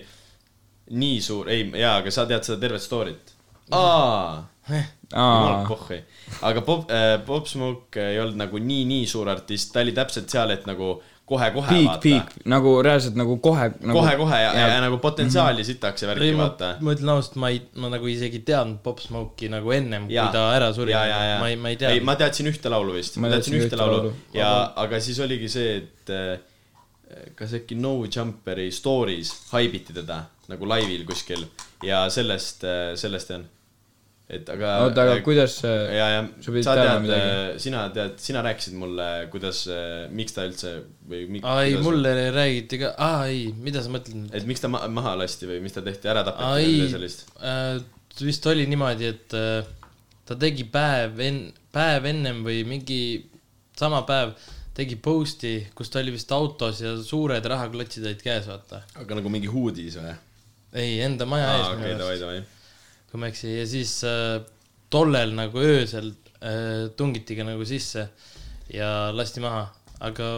Speaker 1: nii suur , ei , jaa , aga sa tead seda tervet story't . aa jumala
Speaker 3: aa ,
Speaker 1: pohhui . aga Bob äh, , Bob Smoke ei olnud nagu nii , nii suur artist , ta oli täpselt seal , et nagu kohe-kohe
Speaker 3: peak ,
Speaker 1: vaata .
Speaker 3: peak , nagu reaalselt nagu kohe nagu... Mhm.
Speaker 1: kohe-kohe ja, ja, ja nagu potentsiaali sitaks ja värki
Speaker 5: ei , ma ,
Speaker 1: vaata .
Speaker 5: ma ütlen ausalt , ma ei , ma nagu isegi teadnud Pop Smoke'i nagu ennem , kui
Speaker 1: Jaa.
Speaker 5: ta ära suri .
Speaker 1: Jaa, jaa, jaa.
Speaker 5: ma ei , ma ei
Speaker 1: ei ,
Speaker 5: teadnud .
Speaker 1: ma teadsin ühte laulu vist , ma teadsin ühte laulu ja , aga siis oligi see , et äh, kas äkki No Jumperi story's haibiti teda nagu laivil kuskil ja sellest , sellest on , et aga . äh,
Speaker 3: oota , aga kuidas see
Speaker 1: ja , ja
Speaker 3: Sa pidid
Speaker 1: sa
Speaker 3: teadma
Speaker 1: tead äh,
Speaker 3: midagi. ,
Speaker 1: sina tead , sina rääkisid mulle , kuidas , miks ta üldse või mi,
Speaker 5: aa ei , mulle räägiti ka , aa ei , mida sa mõtled nüüd ?
Speaker 1: et miks ta ma maha lasti või mis ta tehti , ära
Speaker 5: aa
Speaker 1: tapeti või midagi
Speaker 5: ei
Speaker 1: sellist .,
Speaker 5: äh, vist oli niimoodi , et äh, ta tegi päev en- , päev ennem või mingi sama päev tegi post'i , kus ta oli vist autos ja suured rahaklotsid olid käes , vaata .
Speaker 1: aga nagu mingi hoodis või ?
Speaker 5: ei , enda maja ees
Speaker 1: aa ,
Speaker 5: minu
Speaker 1: okei , davai ,
Speaker 5: arust ,
Speaker 1: davai .
Speaker 5: kui ma ei eksi , ja siis äh, tollel nagu öösel äh, tungiti ka nagu sisse ja lasti maha , aga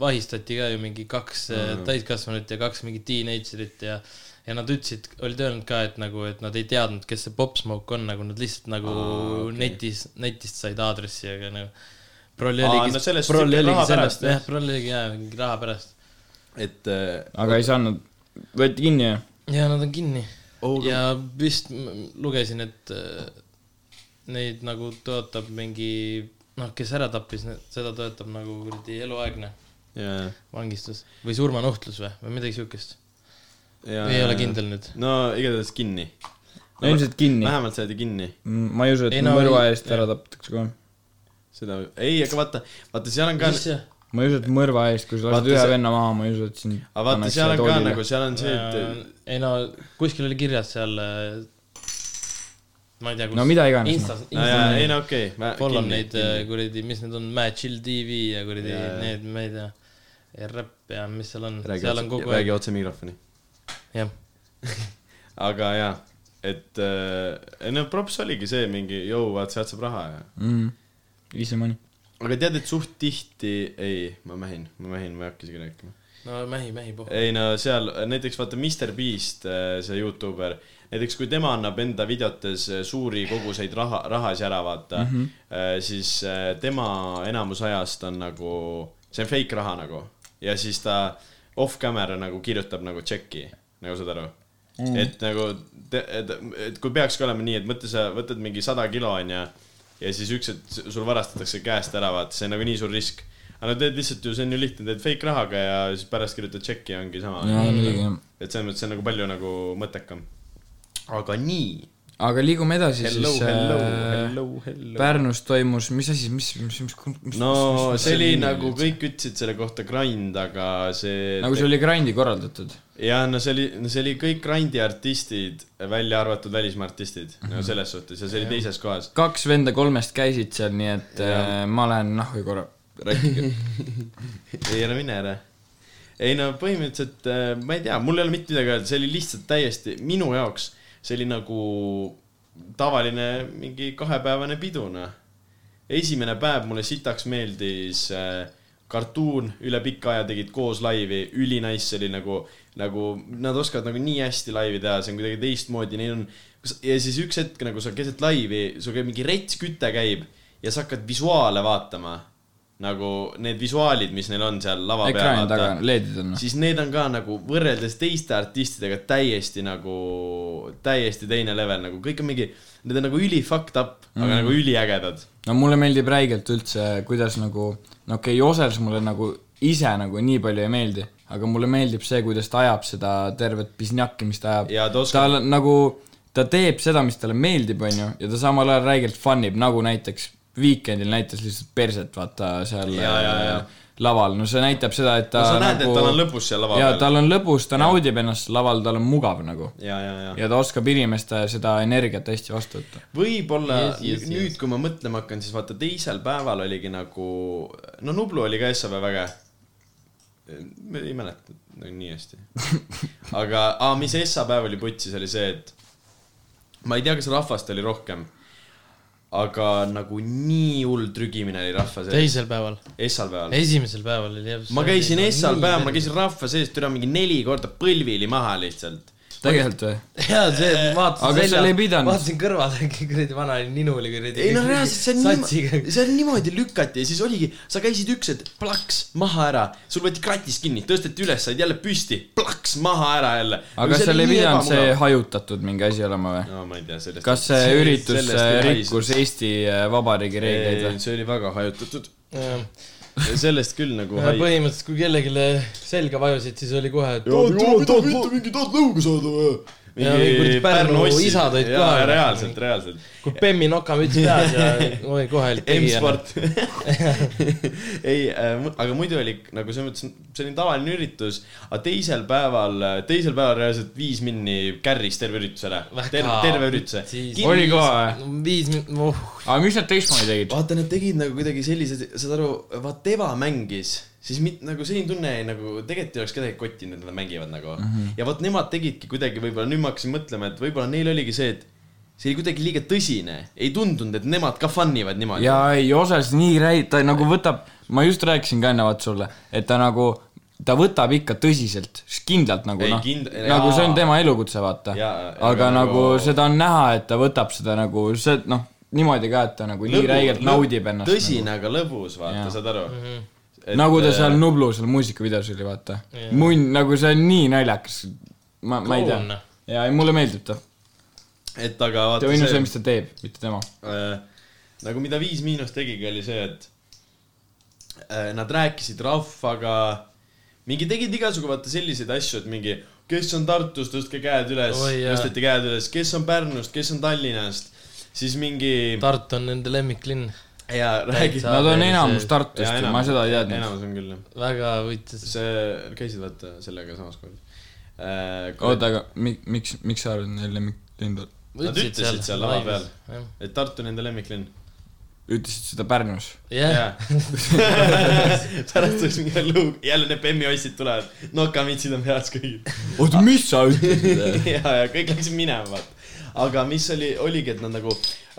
Speaker 5: vahistati ka ju mingi kaks mm. täiskasvanut ja kaks mingit teenagerit ja ja nad ütlesid , olid öelnud ka , et nagu , et nad ei teadnud , kes see Pop Smoke on , nagu nad lihtsalt nagu Aa, okay. netis , netist said aadressi , aga nagu prolli
Speaker 1: Aa,
Speaker 5: oligi
Speaker 1: no sellest
Speaker 5: prolli
Speaker 1: sihuke
Speaker 5: oligi
Speaker 1: raha
Speaker 5: sellest ,
Speaker 1: pärast,
Speaker 5: jah , prolli oligi jah , mingi raha pärast .
Speaker 1: et äh,
Speaker 3: aga ei saanud , võeti kinni ju .
Speaker 5: ja nad on kinni
Speaker 1: Oh,
Speaker 5: oh, . ja vist m- lugesin , et äh, neid nagu toetab mingi , noh , kes ära tappis , seda toetab nagu kuradi eluaegne
Speaker 1: jaa ,
Speaker 5: vangistus või surmanuhtlus või , või midagi siukest .
Speaker 1: jaa .
Speaker 5: ei ole . kindel nüüd .
Speaker 1: no igatahes kinni .
Speaker 3: no ilmselt kinni .
Speaker 1: vähemalt saadi kinni ,
Speaker 3: ma ei usu , et
Speaker 5: Ei, no
Speaker 3: mõrva
Speaker 5: ei-
Speaker 3: eest ära tapetakse kohe .
Speaker 1: seda , ei , aga vaata , vaata , seal on ka ,
Speaker 5: mis see ?
Speaker 3: ma ei usu , et mõrva eest , kui sa
Speaker 1: Vaata
Speaker 3: lased ühe
Speaker 1: see-
Speaker 3: venna maha , ma ei usu , et sind
Speaker 1: aga vaata , seal on ka nagu , seal on see , et
Speaker 5: ei no kuskil oli kirjas seal , ma ei tea , kus .
Speaker 3: No mida iganes, noh.
Speaker 5: Instas ,
Speaker 1: no jaa , ei
Speaker 5: Instas .
Speaker 1: no okei ,
Speaker 5: Follow
Speaker 1: kinni
Speaker 5: neid , äh, kuradi , mis need on , Mad Chill TV ja kuradi
Speaker 1: Jaa, jaa.
Speaker 5: need , ma ei tea , Räpp ja mis seal on ,
Speaker 1: räägi
Speaker 5: äh, seal on
Speaker 1: otse ,
Speaker 5: kogu aeg
Speaker 1: räägi , otse mikrofoni .
Speaker 5: jah
Speaker 1: aga jaa , et äh, no props oligi see mingi , jõu , vaat sealt saab raha ja
Speaker 3: mm, . Easy money .
Speaker 1: aga tead , et suht tihti , ei , ma mähin , ma mähin , ma ei hakka isegi rääkima .
Speaker 5: no mähi , mähi puhul .
Speaker 1: ei no seal näiteks vaata Mr Beast , see Youtuber , näiteks kui tema annab enda videotes äh, suuri koguseid raha , rahasi ära vaata mm , -hmm. siis äh, tema enamus ajast on nagu , see on fake raha nagu ja siis ta off-camera nagu kirjutab nagu tšeki , nagu saad aru mm. . et nagu , et, et kui peakski olema nii , et mõtle , sa võtad mingi sada kilo onju ja siis üks hetk sul varastatakse käest ära , vaata , see on nagu nii suur risk . aga no teed lihtsalt ju , see on ju lihtne , teed fake rahaga ja siis pärast kirjutad tšeki ja ongi sama .
Speaker 3: jaa , muidugi jah .
Speaker 1: et selles mõttes see on nagu palju nagu mõttekam . aga nii .
Speaker 3: aga liigume edasi
Speaker 1: Hello ,
Speaker 3: siis .
Speaker 1: hello , hello , hello .
Speaker 3: Pärnus toimus , mis asi , mis , mis , mis , mis
Speaker 1: no
Speaker 3: mis-
Speaker 1: see oli
Speaker 3: mis-
Speaker 1: nagu kõik ütlesid selle kohta grind , aga see .
Speaker 3: nagu see oli grandi korraldatud .
Speaker 1: jah , no see oli , no see oli kõik grindi artistid , välja arvatud välismaa artistid , no
Speaker 3: Mhm.
Speaker 1: selles suhtes ja see oli teises kohas .
Speaker 3: kaks venda kolmest käisid seal , nii et äh, ma lähen nahku korra . rääkige .
Speaker 1: ei ära mine ära . ei no põhimõtteliselt äh, ma ei tea , mul ei ole mitte midagi öelda , see oli lihtsalt täiesti minu jaoks , see oli nagu tavaline mingi kahepäevane pidu , noh . esimene päev mulle sitaks meeldis äh, kartuun , üle pika aja tegid koos laivi , ülinais , see oli nagu , nagu nad oskavad nagu nii hästi laivi teha , see on kuidagi teistmoodi , neil on . ja siis üks hetk nagu sa keset laivi , sul käib mingi retsküte käib ja sa hakkad visuaale vaatama nagu need visuaalid , mis neil on seal lava peal ,
Speaker 3: ekraani taga
Speaker 1: vaata ,
Speaker 3: LED-id on . noh.
Speaker 1: siis need on ka nagu võrreldes teiste artistidega täiesti nagu , täiesti teine level , nagu kõik on mingi , need on nagu üli fucked up mm , -hmm. aga nagu üliägedad .
Speaker 3: no mulle meeldib räigelt üldse , kuidas nagu , no okei okay, , Josers mulle nagu ise nagu nii palju ei meeldi , aga mulle meeldib see , kuidas ta ajab seda tervet pisnjakki , mis ta
Speaker 1: Ja
Speaker 3: ajab
Speaker 1: ta . oskab-
Speaker 3: tal on nagu , ta teeb seda , mis talle meeldib , onju , ja ta samal ajal räigelt fun ib , nagu näiteks Weekendil näitas lihtsalt perset , vaata seal
Speaker 1: Ja, ja, ja.
Speaker 3: laval , no see näitab seda , et ta
Speaker 1: No sa näed, et
Speaker 3: nagu...
Speaker 1: tal on lõbus seal lava
Speaker 3: ja,
Speaker 1: peal.
Speaker 3: tal on lõbus , ta naudib ennast seal laval , tal on mugav nagu .
Speaker 1: ja , ja , ja, ja. .
Speaker 3: ja ta oskab inimeste seda energiat hästi vastu võtta .
Speaker 1: võib-olla
Speaker 5: Yes, yes,
Speaker 1: yes, nüüd yes. , kui ma mõtlema hakkan , siis vaata teisel päeval oligi nagu , no Nublu oli ka SAV väga ma ei mäleta nagu nii
Speaker 5: (laughs)
Speaker 1: hästi . aga , mis esmaspäev oli putsis , oli see , et ma ei tea , kas rahvast oli rohkem , aga nagu nii hull trügimine oli rahva sees ,
Speaker 5: teisel päeval ,
Speaker 1: esmaspäeval .
Speaker 5: esimesel päeval oli nagu jah .
Speaker 1: ma käisin esmaspäeval , ma . käisin rahva sees türa mingi neli korda põlvili maha lihtsalt . Äh,
Speaker 3: tegelikult või ?
Speaker 5: jaa , see , vaatasin
Speaker 3: Aga seal ei pidanud.
Speaker 5: vaatasin kõrvale , (laughs) kuradi vana oli ninu oli kuradi .
Speaker 1: ei no reaalselt see on niimoodi ,
Speaker 5: niimoodi .
Speaker 1: see on niimoodi lükati ja siis oligi , sa käisid üks hetk plaks maha ära , sul võeti kratis kinni , tõsteti üles , said jälle püsti , plaks maha ära jälle . Nagu
Speaker 3: aga seal ei pidanud see hajutatud mingi asi olema või ?
Speaker 1: no ma ei tea , sellest .
Speaker 3: kas see üritus äh, rikkus Eesti äh, Vabariigi reegleid või ?
Speaker 1: see oli väga hajutatud , sellest küll nagu haj- .
Speaker 5: põhimõtteliselt , kui kellelegi selga vajusid , siis oli kohe , et
Speaker 1: tahad mitte mingi , tahad lõuga saada või ?
Speaker 5: Ja kuradi Pärnu isad olid kohal.
Speaker 1: reaalselt , reaalselt .
Speaker 5: kui Bemmi nokamüts peas ja oi ,
Speaker 1: (laughs)
Speaker 5: kohe oli tegija . noh.
Speaker 1: M-sport . ei , aga muidu oli nagu selles mõttes , see oli tavaline üritus , aga teisel päeval , teisel päeval reaalselt viis minni kärris terve ürituse ära . terve , terve ürituse .
Speaker 3: Oli kohe
Speaker 5: või ? viis min- , oh ,
Speaker 3: aga mis nad teistmoodi tegid ?
Speaker 1: vaata , nad tegid nagu kuidagi sellise , saad aru , vaat Eva mängis , siis mit, nagu selline tunne jäi nagu tegelikult ei oleks kedagi kottinud , et nad mängivad nagu mm . -hmm. ja vot nemad tegidki kuidagi võib-olla , nüüd ma hakkasin mõtlema , et võib-olla neil oligi see , et see oli kuidagi liiga tõsine , ei tundunud , et nemad ka fun ivad niimoodi .
Speaker 3: ja ei , osas nii räi- , ta nagu võtab , ma just rääkisin ka enne vaata sulle , et ta nagu , ta võtab ikka tõsiselt , kindlalt nagu
Speaker 1: Ei,
Speaker 3: noh
Speaker 1: kind- ,
Speaker 3: nagu see on
Speaker 1: jaa.
Speaker 3: tema elukutse , vaata
Speaker 1: Jaa, .
Speaker 3: aga
Speaker 1: aga
Speaker 3: nagu
Speaker 1: nagu-
Speaker 3: seda on näha , et ta võtab seda nagu , see noh , niimoodi ka , et ta nagu nii räigelt naudib ennast .
Speaker 1: tõsine , aga lõbus , vaata
Speaker 3: Jaa. ,
Speaker 1: saad aru mm ?
Speaker 5: Mhm.
Speaker 1: -hmm.
Speaker 3: Et, nagu ta seal Nublu seal muusikavideos oli , vaata . munn , nagu see on nii naljakas . ma , ma ei tea
Speaker 5: Kloun. .
Speaker 3: jaa , ei mulle meeldib ta .
Speaker 1: et aga
Speaker 3: ta
Speaker 1: vaata
Speaker 3: on ju see ,
Speaker 1: see ,
Speaker 3: mis ta teeb , mitte tema .
Speaker 1: äh, nagu mida Viis Miinus tegigi , oli see , et äh, nad rääkisid rahvaga , mingi tegid igasugu vaata selliseid asju , et mingi , kes on Tartust , tõstke käed üles
Speaker 5: Oi, , jaa.
Speaker 1: tõsteti käed üles , kes on Pärnust , kes on Tallinnast , siis mingi
Speaker 5: Tartu on nende lemmiklinn ,
Speaker 1: ja räägi .
Speaker 5: täitsa-
Speaker 3: Nad on
Speaker 5: see-
Speaker 3: enamus
Speaker 5: see-
Speaker 3: Tartust ju , ma seda ei teadnud .
Speaker 1: enamus on küll jah .
Speaker 5: väga võitis .
Speaker 1: see , käisid vaata sellega samas koolis äh, .
Speaker 3: oota , aga mi- , miks , miks sa arvad , et neil lemmiklind on ?
Speaker 1: Nad ütlesid seal lava peal , et Tartu on nende lemmiklinn .
Speaker 3: ütlesid seda Pärnus .
Speaker 5: jah ,
Speaker 1: (laughs) pärast oleks mingi lõu , jälle need Bemmi ossid tulevad , nokamitsid on peas kõigil .
Speaker 3: oota , mis sa
Speaker 1: (laughs)
Speaker 3: ütlesid ?
Speaker 1: ja , ja kõik läksid minema , vaata . aga mis oli , oligi , et nad nagu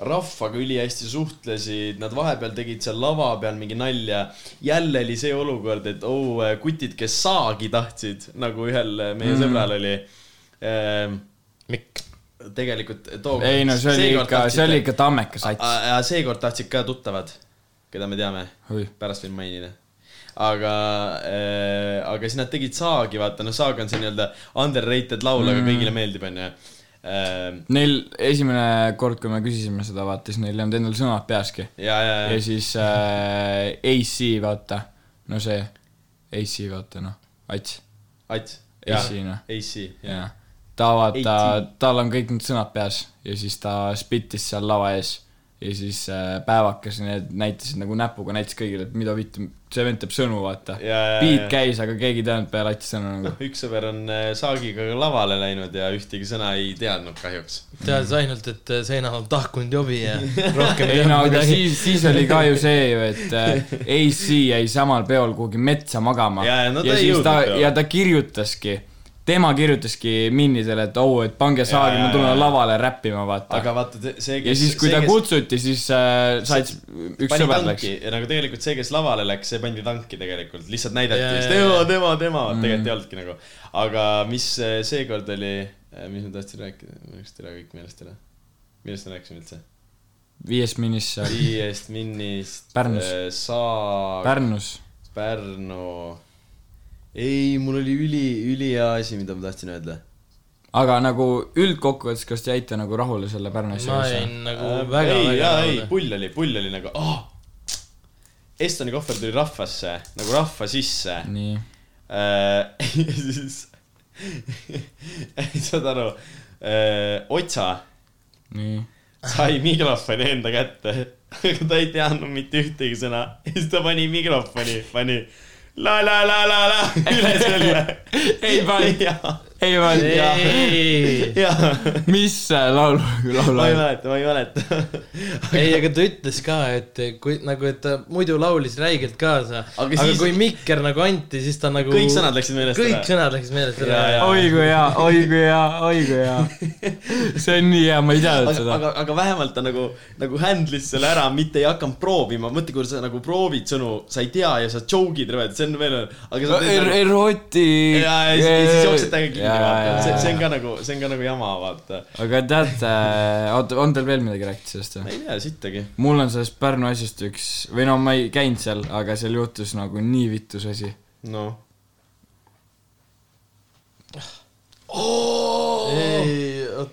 Speaker 1: rahvaga ülihästi suhtlesid , nad vahepeal tegid seal lava peal mingi nalja . jälle oli see olukord , et oo oh, , kutid , kes saagi tahtsid , nagu ühel meie mm. sõbral oli ehm, .
Speaker 5: Mikk .
Speaker 1: tegelikult tookord .
Speaker 3: ei no see oli ikka , see oli ikka tammekas sats .
Speaker 1: A- a- seekord tahtsid ka tuttavad , keda me teame
Speaker 3: Oi. ,
Speaker 1: pärast võin mainida . aga äh, , aga siis nad tegid Saagi , vaata , noh , Saag on see nii-öelda underrated laul ,
Speaker 3: Mm.
Speaker 1: aga kõigile meeldib , Äh, onju .
Speaker 3: Neil esimene kord , kui me küsisime seda , vaata , siis neil ei olnud endal sõnad peaski
Speaker 1: ja , ja ,
Speaker 3: ja
Speaker 1: ja ,
Speaker 3: siis äh, AC , vaata , no see , AC , vaata noh , Ats ,
Speaker 1: Ats .
Speaker 3: AC noh ,
Speaker 1: AC , jah .
Speaker 3: jah . ta vaata
Speaker 1: AC. ,
Speaker 3: tal on kõik need sõnad peas ja siis ta spittis seal lava ees ja siis äh, päevakas ja need näitasid nagu näpuga näitas kõigile , et mida vittu , see vend teeb sõnu , vaata .
Speaker 1: Ja, ja,
Speaker 3: beat
Speaker 1: ja.
Speaker 3: käis , aga keegi ei teadnud peale Atsi sõnu nagu .
Speaker 1: üks sõber on äh, Saagiga lavale läinud ja ühtegi sõna ei teadnud kahjuks .
Speaker 5: teadis ainult , et seina on tahkunud jobi
Speaker 1: (laughs)
Speaker 5: ja rohkem
Speaker 3: ei no aga . siis , siis oli ka ju see ju , et äh, AC jäi samal peol kuhugi metsa magama
Speaker 1: Ja, ja, no ta ei
Speaker 3: siis
Speaker 1: jõudnud
Speaker 3: ta
Speaker 1: peole.
Speaker 3: ja ta kirjutaski , tema kirjutaski minnidele , et oo , et pange saagi ,
Speaker 1: ja,
Speaker 3: ma tulen
Speaker 1: ja.
Speaker 3: lavale
Speaker 1: aga
Speaker 3: räppima , vaata .
Speaker 1: vaata , see ,
Speaker 3: ja siis , kui ta kutsuti , siis äh, said , üks
Speaker 1: pani
Speaker 3: sõber läks
Speaker 1: tanki . ja nagu tegelikult see , kes lavale läks , see pandi tanki tegelikult , lihtsalt
Speaker 5: Jaa,
Speaker 1: näidati ,
Speaker 5: jaa,
Speaker 1: et tema , tema , tema ,
Speaker 3: Mm.
Speaker 1: tegelikult ei olnudki nagu . aga mis eh, seekord oli , mis ma tahtsin rääkida , mul läks täna kõik meelest ära . millest me rääkisime üldse ?
Speaker 3: viies minis äh, seal ,
Speaker 1: viiest minnist .
Speaker 3: Pärnus.
Speaker 1: Saag ,
Speaker 3: Pärnus .
Speaker 1: Pärnu . ei , mul oli üli , ülihea asi , mida ma tahtsin öelda .
Speaker 3: aga nagu üldkokkuvõttes , kas te jäite nagu rahule selle Pärnu
Speaker 5: ma
Speaker 3: asjaga ?
Speaker 5: jäin nagu
Speaker 1: Äh,
Speaker 5: väga ,
Speaker 1: ei ,
Speaker 5: väga
Speaker 1: jaa , ei , pull oli , pull oli nagu , ah . Estoni kohver tuli rahvasse , nagu rahva sisse
Speaker 3: nii ,
Speaker 1: Äh, (laughs) ja siis saad aru , Äh, Otsa
Speaker 3: nii .
Speaker 1: sai mikrofoni enda kätte , aga ta ei teadnud mitte ühtegi sõna ja siis ta pani mikrofoni , pani la la la la la üle selle .
Speaker 3: Ei pannud.
Speaker 1: (laughs) jaa ,
Speaker 3: ei pannud
Speaker 1: Jaa.
Speaker 5: ei ,
Speaker 1: jaa ,
Speaker 3: (laughs) mis see laul , laul
Speaker 1: ma ei
Speaker 3: on ?
Speaker 1: mäleta , ma ei mäleta . (laughs)
Speaker 5: ei , aga ta ütles ka , et kui nagu , et ta muidu laulis räigelt kaasa ,
Speaker 1: Aga
Speaker 5: aga
Speaker 1: siis-
Speaker 5: kui mikker nagu anti , siis ta nagu
Speaker 1: kõik sõnad läksid meelest
Speaker 5: kõik
Speaker 1: ära.
Speaker 5: sõnad läksid meelest ära
Speaker 1: Jaa, jaa.
Speaker 5: ja,
Speaker 3: oi kui hea , oi kui hea , oi kui hea . (laughs) see on nii hea , ma ei teadnud
Speaker 1: aga ,
Speaker 3: seda .
Speaker 1: aga , aga vähemalt ta nagu , nagu handle'is selle ära , mitte ei hakanud proovima , mõtle , kui sa nagu proovid sõnu , sa ei tea ja sa joke'id , see on veel , aga sa teed nagu-
Speaker 3: erotik .
Speaker 1: ja , ja siis, ja siis jooksed täiega kinni , vaata , see , see on ka nagu , see on ka nagu jama , vaata .
Speaker 3: aga teate , oota , on teil veel midagi rääkida sellest
Speaker 1: ma
Speaker 3: või ?
Speaker 1: ei tea , sittagi .
Speaker 3: mul on sellest Pärnu asjast üks , või no ma ei käinud seal , aga seal juhtus nagu nii vitus asi .
Speaker 1: noh .
Speaker 5: ei ,
Speaker 1: Oh!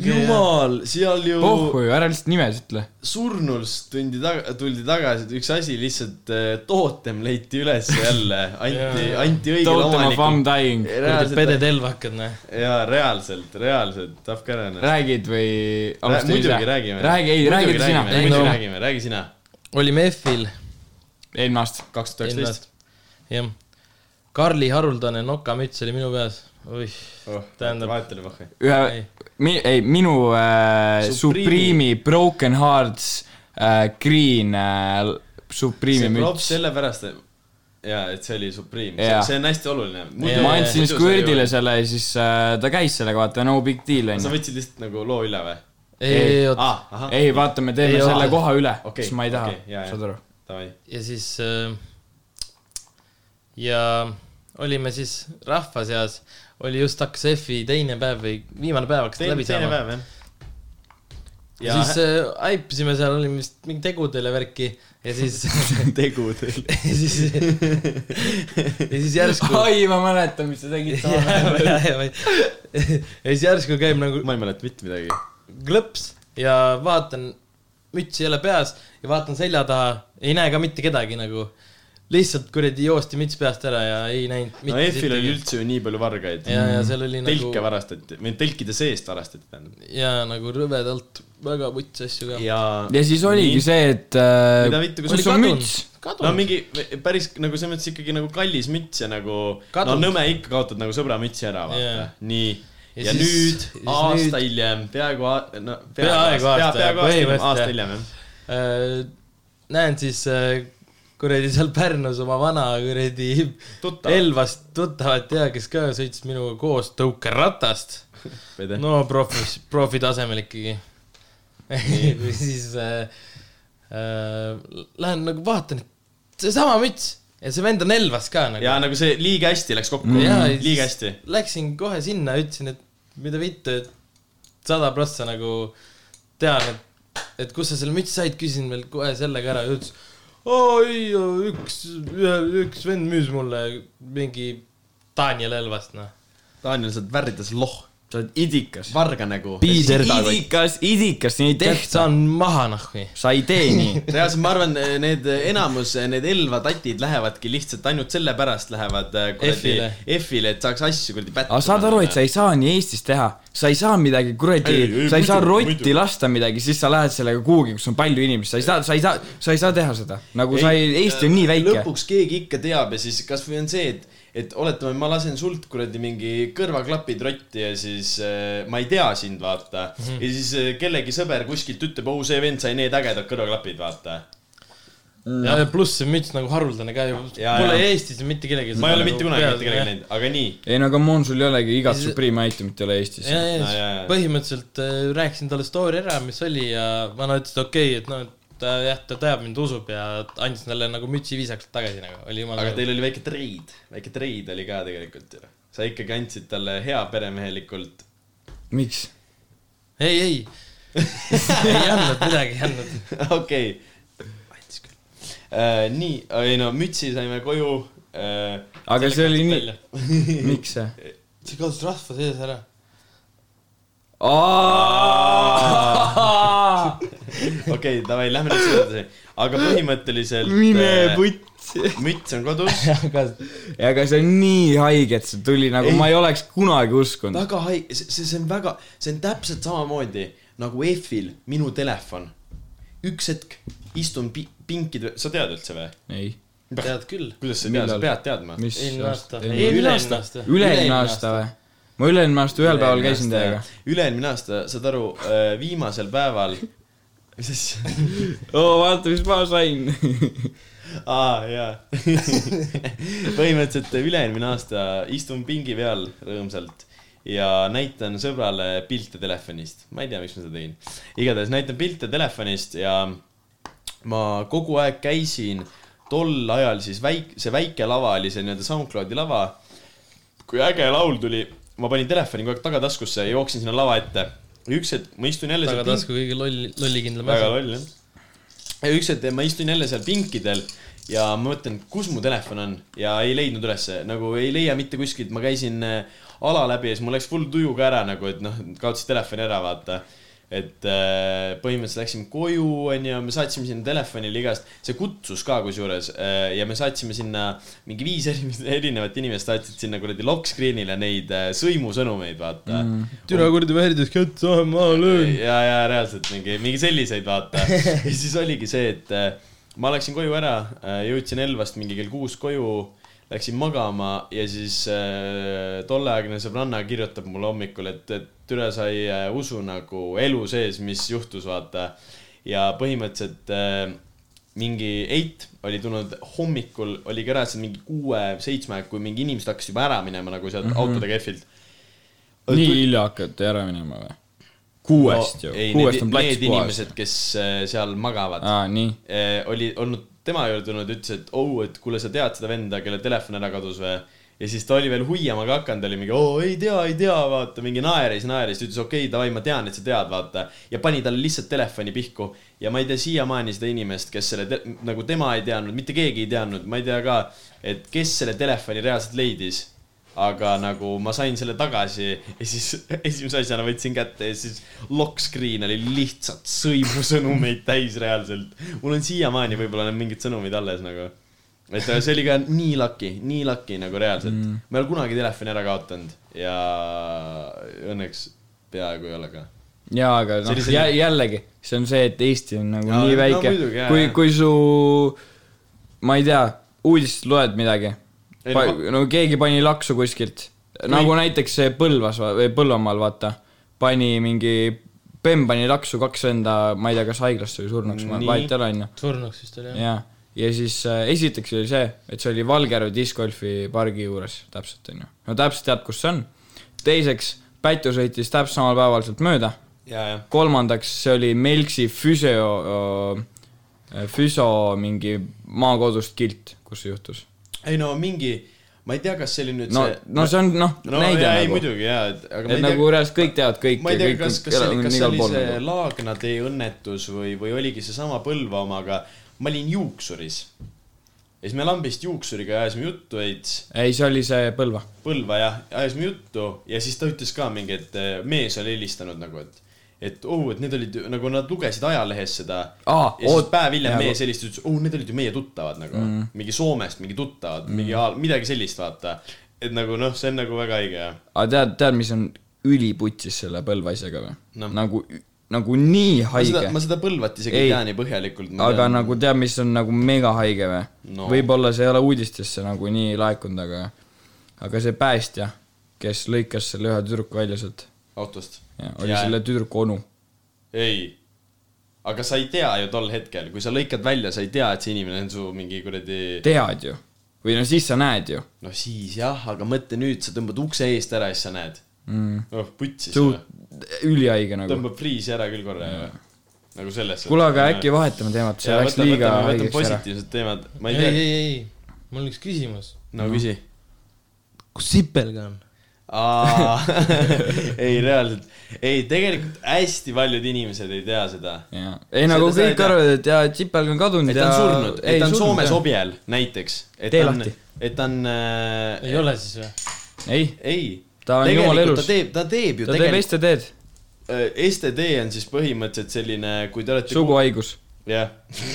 Speaker 1: jumal , seal ju
Speaker 3: pohhu ju , ära lihtsalt nimesid ütle .
Speaker 1: surnulst tundi taga , tuldi tagasi , et üks asi lihtsalt , tootem leiti üles jälle , anti ,
Speaker 5: Jaa.
Speaker 1: anti õigele
Speaker 3: Totem of nagu I'm
Speaker 1: omanikule .
Speaker 3: dying .
Speaker 5: kuradi
Speaker 1: reaalselt ,
Speaker 5: pedetelvakad , noh .
Speaker 1: jaa , reaalselt , reaalselt , tahab ka ära .
Speaker 3: räägid või ?
Speaker 1: muidugi räägime .
Speaker 3: Äh, räägi , ei , räägi ta sina .
Speaker 1: muidugi räägime , räägi sina .
Speaker 5: olime F-il
Speaker 3: eelmine aasta .
Speaker 1: kaks tuhat
Speaker 5: eelmine
Speaker 1: üheksateist .
Speaker 5: aasta , jah . Karli haruldane nokamüts oli minu peas , oih , Tähendab-
Speaker 1: vahet oli vahva .
Speaker 3: ühe
Speaker 5: Ei. ,
Speaker 3: mi- , ei , minu äh,
Speaker 1: Supreme.
Speaker 3: Supreme'i Broken Hearts äh, Green äh, Supreme'i
Speaker 1: see klopp
Speaker 3: müts .
Speaker 1: sellepärast , et jaa , et see oli Supreme ,
Speaker 3: Jaa.
Speaker 1: see on hästi oluline .
Speaker 3: ma andsin Squirtile . selle ja siis äh, ta käis sellega , vaata , no big deal
Speaker 1: sa
Speaker 3: onju .
Speaker 1: võtsid lihtsalt nagu loo üle või ?
Speaker 5: ei , ei , oot ,
Speaker 1: aa , ahah ,
Speaker 3: ei , vaata , me teeme
Speaker 5: Ei,
Speaker 3: ei, selle
Speaker 5: ole.
Speaker 3: koha üle
Speaker 1: Okei,
Speaker 3: okay, , siis ma ei taha
Speaker 1: okei, jaa,
Speaker 3: okay, ,
Speaker 1: jaa.
Speaker 3: saad aru .
Speaker 1: davai .
Speaker 5: ja siis äh, ja olime siis rahva seas , oli just hakkas F-i teine päev või viimane päev hakkas ta
Speaker 1: teine ,
Speaker 5: läbi
Speaker 1: teine
Speaker 5: saama .
Speaker 1: päev jah .
Speaker 5: ja siis
Speaker 1: (laughs)
Speaker 5: äh, aipisime seal , olime vist mingi tegudele värki ja
Speaker 1: (laughs)
Speaker 5: siis ,
Speaker 1: tegudel .
Speaker 5: ja siis , ja siis järsku
Speaker 3: oi , ma mäletan , mis sa
Speaker 5: (laughs)
Speaker 3: tegid
Speaker 5: ja, ja, ja, ja siis järsku käib nagu
Speaker 1: (laughs) ma ei mäleta mitte midagi .
Speaker 5: klõps ja vaatan , müts ei ole peas ja vaatan selja taha , ei näe ka mitte kedagi nagu . lihtsalt kuradi joosti müts peast ära ja ei näinud
Speaker 1: no
Speaker 5: mitte
Speaker 1: EF-il oli . üldse ju nii palju vargaid .
Speaker 5: ja , ja seal oli nagu
Speaker 1: telke , varastati , või telkide seest varastati tähendab .
Speaker 5: ja nagu rõvedalt väga vuts asju ka .
Speaker 1: ja .
Speaker 3: ja siis oligi . see , et
Speaker 1: mida
Speaker 3: äh,
Speaker 1: vittu , kus
Speaker 3: kus on müts ??
Speaker 1: no
Speaker 5: Hmm. kadunud .
Speaker 1: mingi päris nagu selles mõttes ikkagi nagu kallis müts ja nagu no
Speaker 5: Kadunud.
Speaker 1: nõme ikka kaotad nagu sõbramütsi ära , vaata
Speaker 5: Jaa.
Speaker 1: yeah. , nii .
Speaker 5: Ja
Speaker 1: ja, ja
Speaker 5: siis-
Speaker 1: nüüd
Speaker 5: siis nüüd-
Speaker 1: aasta hiljem , peaaegu a- , no
Speaker 5: Peaaegu
Speaker 1: aasta ,
Speaker 5: aasta,
Speaker 1: peaaegu aasta hiljem ,
Speaker 5: põhimõtteliselt,
Speaker 1: aasta
Speaker 5: jah.
Speaker 1: hiljem jah .
Speaker 5: Äh, näen siis äh, kuradi seal Pärnus oma vana kuradi
Speaker 1: Tuttav.
Speaker 5: Elvast tuttavat ja kes ka sõitis minuga koos tõukeratast
Speaker 1: Pede.
Speaker 5: no profis , profi tasemel ikkagi . (laughs) siis äh, äh, lähen nagu vaatan , et seesama müts ja see vend on Elvas ka nagu .
Speaker 1: ja nagu see liiga hästi läks kokku
Speaker 5: Ja
Speaker 1: mm. ,
Speaker 5: siis
Speaker 1: liiga hästi .
Speaker 5: Läksin kohe sinna , ütlesin , et mida vittu , et sada prossa nagu tean , et , et kust sa selle mütsi said , küsisin veel kohe selle ka ära ja ütles . oi , üks , üks vend müüs mulle mingi Daniel Elvast , noh .
Speaker 1: Daniel , sa oled värvides loh ,
Speaker 3: sa oled idikas .
Speaker 1: varganägu .
Speaker 3: idikas , idikas , nii ei
Speaker 5: tehtud
Speaker 3: tehta .
Speaker 5: saan maha noh, nahku .
Speaker 3: sa ei tee (laughs) nii .
Speaker 1: reaalselt ma arvan , need enamus , need Elva tatid lähevadki lihtsalt ainult sellepärast lähevad äh, kuradi
Speaker 5: F-ile.
Speaker 1: F-ile , et saaks asju kuradi pätta .
Speaker 3: aga saad aru , et sa ei saa nii Eestis teha , sa ei saa midagi
Speaker 1: Ei,
Speaker 3: kuradi
Speaker 1: ei, ,
Speaker 3: sa ei saa
Speaker 1: muidugi,
Speaker 3: rotti
Speaker 1: muidugi.
Speaker 3: lasta midagi , siis sa lähed sellega kuhugi , kus on palju inimesi , sa ei saa , sa ei saa , sa ei saa teha seda , nagu ei, sa ei , Eesti on nii väike .
Speaker 1: lõpuks keegi ikka teab ja siis kasvõi on see , et , et oletame , ma lasen sult kuradi mingi kõrvaklapid rotti ja siis äh, ma ei tea sind , vaata mm .
Speaker 3: Mhm.
Speaker 1: -hmm. ja siis äh, kellegi sõber kuskilt ütleb , oo , see vend sai need ägedad kõrvaklapid , vaata .
Speaker 5: ja ja pluss see müts nagu haruldane ka ju ,
Speaker 1: Ja,
Speaker 5: pole
Speaker 1: ja.
Speaker 5: Eestis ju mitte nagu kellegi .
Speaker 1: ma ei
Speaker 3: nagu
Speaker 1: ole mitte kunagi mitte kedagi . näinud , aga nii .
Speaker 3: ei no come on , sul ei olegi igat
Speaker 5: Siis-
Speaker 3: Supreme itemit ei ole Eestis .
Speaker 5: ja ,
Speaker 1: No,
Speaker 5: ja
Speaker 1: ja, ja. ,
Speaker 5: põhimõtteliselt äh, rääkisin talle story ära , mis oli ja vana ütles , et okei okay, , et noh , et ta jah , ta teab mind , usub ja andis talle nagu mütsi viisakalt tagasi nagu , oli jumala
Speaker 1: aga . teil oli väike treid , väike treid oli ka tegelikult ju . sa ikkagi andsid talle hea peremehelikult
Speaker 3: miks ?
Speaker 5: ei , (laughs) ei , ei andnud midagi , ei andnud .
Speaker 1: (laughs) okei . andis küll äh, . nii , ei no mütsi saime koju äh, .
Speaker 3: aga see oli nii ,. miks see ?
Speaker 5: see kadus rahva sees ära .
Speaker 1: okei , davai , lähme nüüd selle edasi . aga põhimõtteliselt .
Speaker 3: mine . putti .
Speaker 1: müts on kodus .
Speaker 3: aga see on nii haige , et see tuli nagu
Speaker 1: Ei.
Speaker 3: ma ei oleks kunagi uskunud .
Speaker 1: väga haige , see , see on väga , see on täpselt samamoodi nagu EF-il minu telefon . üks hetk istun pi- pinkide , sa tead üldse või ?
Speaker 3: ei .
Speaker 5: tead küll .
Speaker 1: kuidas sa tead , sa
Speaker 3: Millal?
Speaker 1: pead teadma .
Speaker 3: mis
Speaker 5: eelmine aasta .
Speaker 3: Ei.
Speaker 5: eelmine aasta .
Speaker 3: üle-eelmine aasta või ? ma üle-eelmine aasta ühel päeval käisin teiega ..
Speaker 1: üle-eelmine aasta , saad aru , viimasel päeval . (laughs) mis asja ?
Speaker 3: (laughs) oo , vaata , mis ma sain .
Speaker 1: aa , jaa . (laughs) põhimõtteliselt üle-eelmine aasta istun pingi peal rõõmsalt ja näitan sõbrale pilte telefonist . ma ei tea , miks ma seda tegin . igatahes näitan pilte telefonist ja ma kogu aeg käisin tol ajal siis väike , see väike lava oli see nii-öelda SoundCloudi lava . kui äge laul tuli , ma panin telefoni kogu aeg tagataskusse ja jooksin sinna lava ette . üks hetk ma istun jälle seal
Speaker 5: tagatasku kõige lolli , lollikindlam
Speaker 1: väga
Speaker 5: asi .
Speaker 1: loll jah . ja üks hetk ma istun jälle seal pinkidel ja ma mõtlen , kus mu telefon on ja ei leidnud ülesse , nagu ei leia mitte kuskilt , ma käisin äh, ala läbi ja siis mul läks full tuju ka ära nagu , et noh , kaotasin telefoni ära , vaata et äh, põhimõtteliselt läksime koju , onju , me saatsime sinna telefonile igast , see kutsus ka kusjuures äh, ja me saatsime sinna mingi viis eri- (laughs) erinevat inimest saatsid sinna kuradi lock screen'ile neid äh, sõimusõnumeid , vaata mm. .
Speaker 5: türa kuradi värdjas kätt , ma löön .
Speaker 1: ja , ja reaalselt mingi , mingi selliseid vaata . ja siis oligi see , et äh, ma läksin koju ära , jõudsin Elvast mingi kell kuus koju , läksin magama ja siis äh, tolleaegne sõbranna kirjutab mulle hommikul , et , et türa sa ei äh, usu nagu elu sees , mis juhtus , vaata . ja põhimõtteliselt äh, mingi eit oli tulnud hommikul , oli käras mingi kuue-seitsme , kui mingi inimesed hakkasid juba ära minema nagu sealt mm -hmm. autode kehvilt .
Speaker 3: (laughs) nii hilja hakati ära minema või ? kuuest ju ,
Speaker 1: ei,
Speaker 3: kuuest
Speaker 1: need-
Speaker 3: on plats
Speaker 1: Need
Speaker 3: puhas .
Speaker 1: inimesed , kes äh, seal magavad ,
Speaker 3: aa , nii .
Speaker 1: oli olnud tema juurde tulnud , ütles , et oh , et kuule , sa tead seda venda , kelle telefon ära kadus või ? ja siis ta oli veel huiama ka hakanud , oli mingi oo , ei tea , ei tea , vaata , mingi naeris , naeris , ütles okei okay, , davai , ma tean , et sa tead , vaata . ja pani talle lihtsalt telefoni pihku ja ma ei tea siiamaani seda inimest , kes selle , nagu tema ei teadnud , mitte keegi ei teadnud , ma ei tea ka , et kes selle telefoni reaalselt leidis aga nagu ma sain selle tagasi ja siis (laughs) esimese asjana võtsin kätte ja siis lock screen oli lihtsalt sõimusõnumeid täis reaalselt . mul on siiamaani võib-olla need mingid sõnumid alles nagu . et see oli ka nii lucky , nii lucky nagu reaalselt mm. . ma ei ole kunagi telefoni ära kaotanud ja õnneks peaaegu ei ole ka .
Speaker 3: jaa , aga
Speaker 1: See
Speaker 3: noh
Speaker 1: oli , selline-
Speaker 3: jällegi , see on see , et Eesti on nagu
Speaker 1: Jaa,
Speaker 3: ja, nii
Speaker 1: no
Speaker 3: väike
Speaker 1: muidugi,
Speaker 3: no,
Speaker 1: jaa, ,
Speaker 3: kui
Speaker 1: jaa. ,
Speaker 3: kui su , ma ei tea , uudistest loed midagi
Speaker 1: Ei, , noh, no-
Speaker 3: no keegi pani laksu kuskilt , nagu näiteks see Põlvas va- või Põlvamaal , vaata , pani mingi , Bemm pani laksu kaks venda , ma ei tea , kas haiglasse või surnuks , ma
Speaker 1: Nii.
Speaker 3: vahet ei ole , onju .
Speaker 5: surnuks vist oli jah ?
Speaker 3: jaa , ja siis äh, esiteks oli see , et see oli Valgeru discgolfi pargi juures täpselt , onju . no täpselt tead , kus see on . teiseks , Pätu sõitis täpselt samal päeval sealt mööda
Speaker 1: ja , ja .
Speaker 3: kolmandaks , see oli Melksi füsio , füsio mingi maakodust kilt , kus see juhtus .
Speaker 1: ei no mingi , ma ei tea , kas see oli nüüd
Speaker 3: no
Speaker 1: see ,.
Speaker 3: no see on noh no, ,
Speaker 1: no
Speaker 3: näide
Speaker 1: jaa , ei
Speaker 3: nagu .
Speaker 1: muidugi jaa , et aga ma
Speaker 3: et
Speaker 1: ei tea
Speaker 3: nagu reaalselt kõik teavad kõike .
Speaker 1: ma ei tea , kas , kas see oli , kas see oli see
Speaker 3: nagu.
Speaker 1: Laagna tee õnnetus või , või oligi seesama Põlva oma , aga ma olin juuksuris . ja siis me lambist juuksuriga ajasime juttu veits ,
Speaker 3: ei , see oli see Põlva .
Speaker 1: Põlva jah , ajasime juttu ja siis ta ütles ka mingi , et eh, mees oli helistanud nagu , et et oh , et need olid ju- nagu nad lugesid ajalehest seda
Speaker 3: Aa,
Speaker 1: ja siis
Speaker 3: oot-
Speaker 1: päev hiljem
Speaker 3: jaa,
Speaker 1: mees helistas , ütles , oh , need olid ju meie tuttavad nagu mm. , mingi Soomest mingi tuttavad mm. , mingi aal- midagi sellist , vaata . et nagu noh , see on nagu väga õige jah .
Speaker 3: aga tead , tead , mis on üliputsis selle Põlva asjaga või
Speaker 1: No.
Speaker 3: no. ? nagu , nagu nii
Speaker 1: ma seda ,
Speaker 3: haige
Speaker 1: ma . seda Põlvat isegi ei,
Speaker 3: Ei.
Speaker 1: ei tea nii põhjalikult .
Speaker 3: aga nagu tead , mis on nagu mega haige või
Speaker 1: No.
Speaker 3: no. ? võib-olla see ei ole uudistesse nagu nii laekunud , aga , aga see päästja , kes lõikas selle ühe tüdruku välja sealt ,
Speaker 1: autost .
Speaker 3: oli ja. selle tüdruku onu .
Speaker 1: ei , aga sa ei tea ju tol hetkel , kui sa lõikad välja , sa ei tea , et see inimene on su mingi kuradi .
Speaker 3: tead ju , või no siis sa näed ju .
Speaker 1: no siis jah , aga mõtle nüüd , sa tõmbad ukse eest ära ja siis sa näed mm. . noh , putsi
Speaker 3: see on
Speaker 1: sulle .
Speaker 3: ülihaige nagu .
Speaker 1: tõmbab friisi ära küll korra ja. nagu selles .
Speaker 3: kuule , aga äkki vahetame teemat , see
Speaker 1: see
Speaker 3: ja, läks
Speaker 1: võtame,
Speaker 3: võtame, liiga
Speaker 1: võtame, võtame
Speaker 3: haigeks ära .
Speaker 1: positiivsed teemad , ma
Speaker 5: ei ,
Speaker 1: ei
Speaker 5: ei ,
Speaker 1: tea ,
Speaker 5: ei , ei , mul on üks küsimus .
Speaker 1: no küsi .
Speaker 5: kus sipelga on ?
Speaker 1: (laughs) ei , reaalselt , ei tegelikult hästi paljud inimesed ei tea seda .
Speaker 3: jaa . ei nagu
Speaker 1: Seda sa ei
Speaker 3: kõik
Speaker 1: tea.
Speaker 3: arvavad , et jaa , et sipelg on kadunud
Speaker 1: et ta
Speaker 3: ja
Speaker 1: on surnud , et
Speaker 3: ei,
Speaker 1: ta on
Speaker 3: surnud,
Speaker 1: Soomes
Speaker 3: jah.
Speaker 1: objel näiteks .
Speaker 3: Tee lahti.
Speaker 1: et ta on äh, .
Speaker 5: ei ole siis või ?
Speaker 3: ei ,
Speaker 1: ei ,
Speaker 3: Ta on
Speaker 1: tegelikult
Speaker 3: jumala elus.
Speaker 1: ta teeb , ta teeb ju
Speaker 3: ta teeb
Speaker 1: tegelikult . Äh,
Speaker 3: STD-d ,
Speaker 1: STD on siis põhimõtteliselt selline , kui te olete .
Speaker 3: suguhaigus .
Speaker 1: jah ,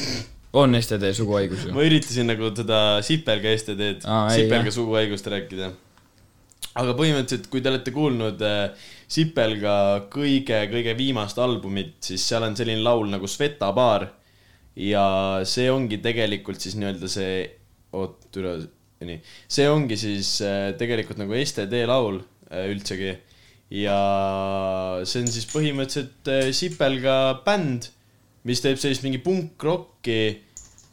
Speaker 1: (laughs)
Speaker 3: on STD suguhaigus ju .
Speaker 1: ma üritasin nagu seda sipelga STD-d ,
Speaker 3: Aa, ei,
Speaker 1: sipelga
Speaker 3: jah.
Speaker 1: suguhaigust rääkida . aga põhimõtteliselt , kui te olete kuulnud äh, sipelga kõige-kõige viimast albumit , siis seal on selline laul nagu Sveta baar . ja see ongi tegelikult siis nii-öelda see , oot , üle , nii , see ongi siis äh, tegelikult nagu STD laul äh, üldsegi ja see on siis põhimõtteliselt äh, sipelga bänd , mis teeb sellist mingi punkrokki .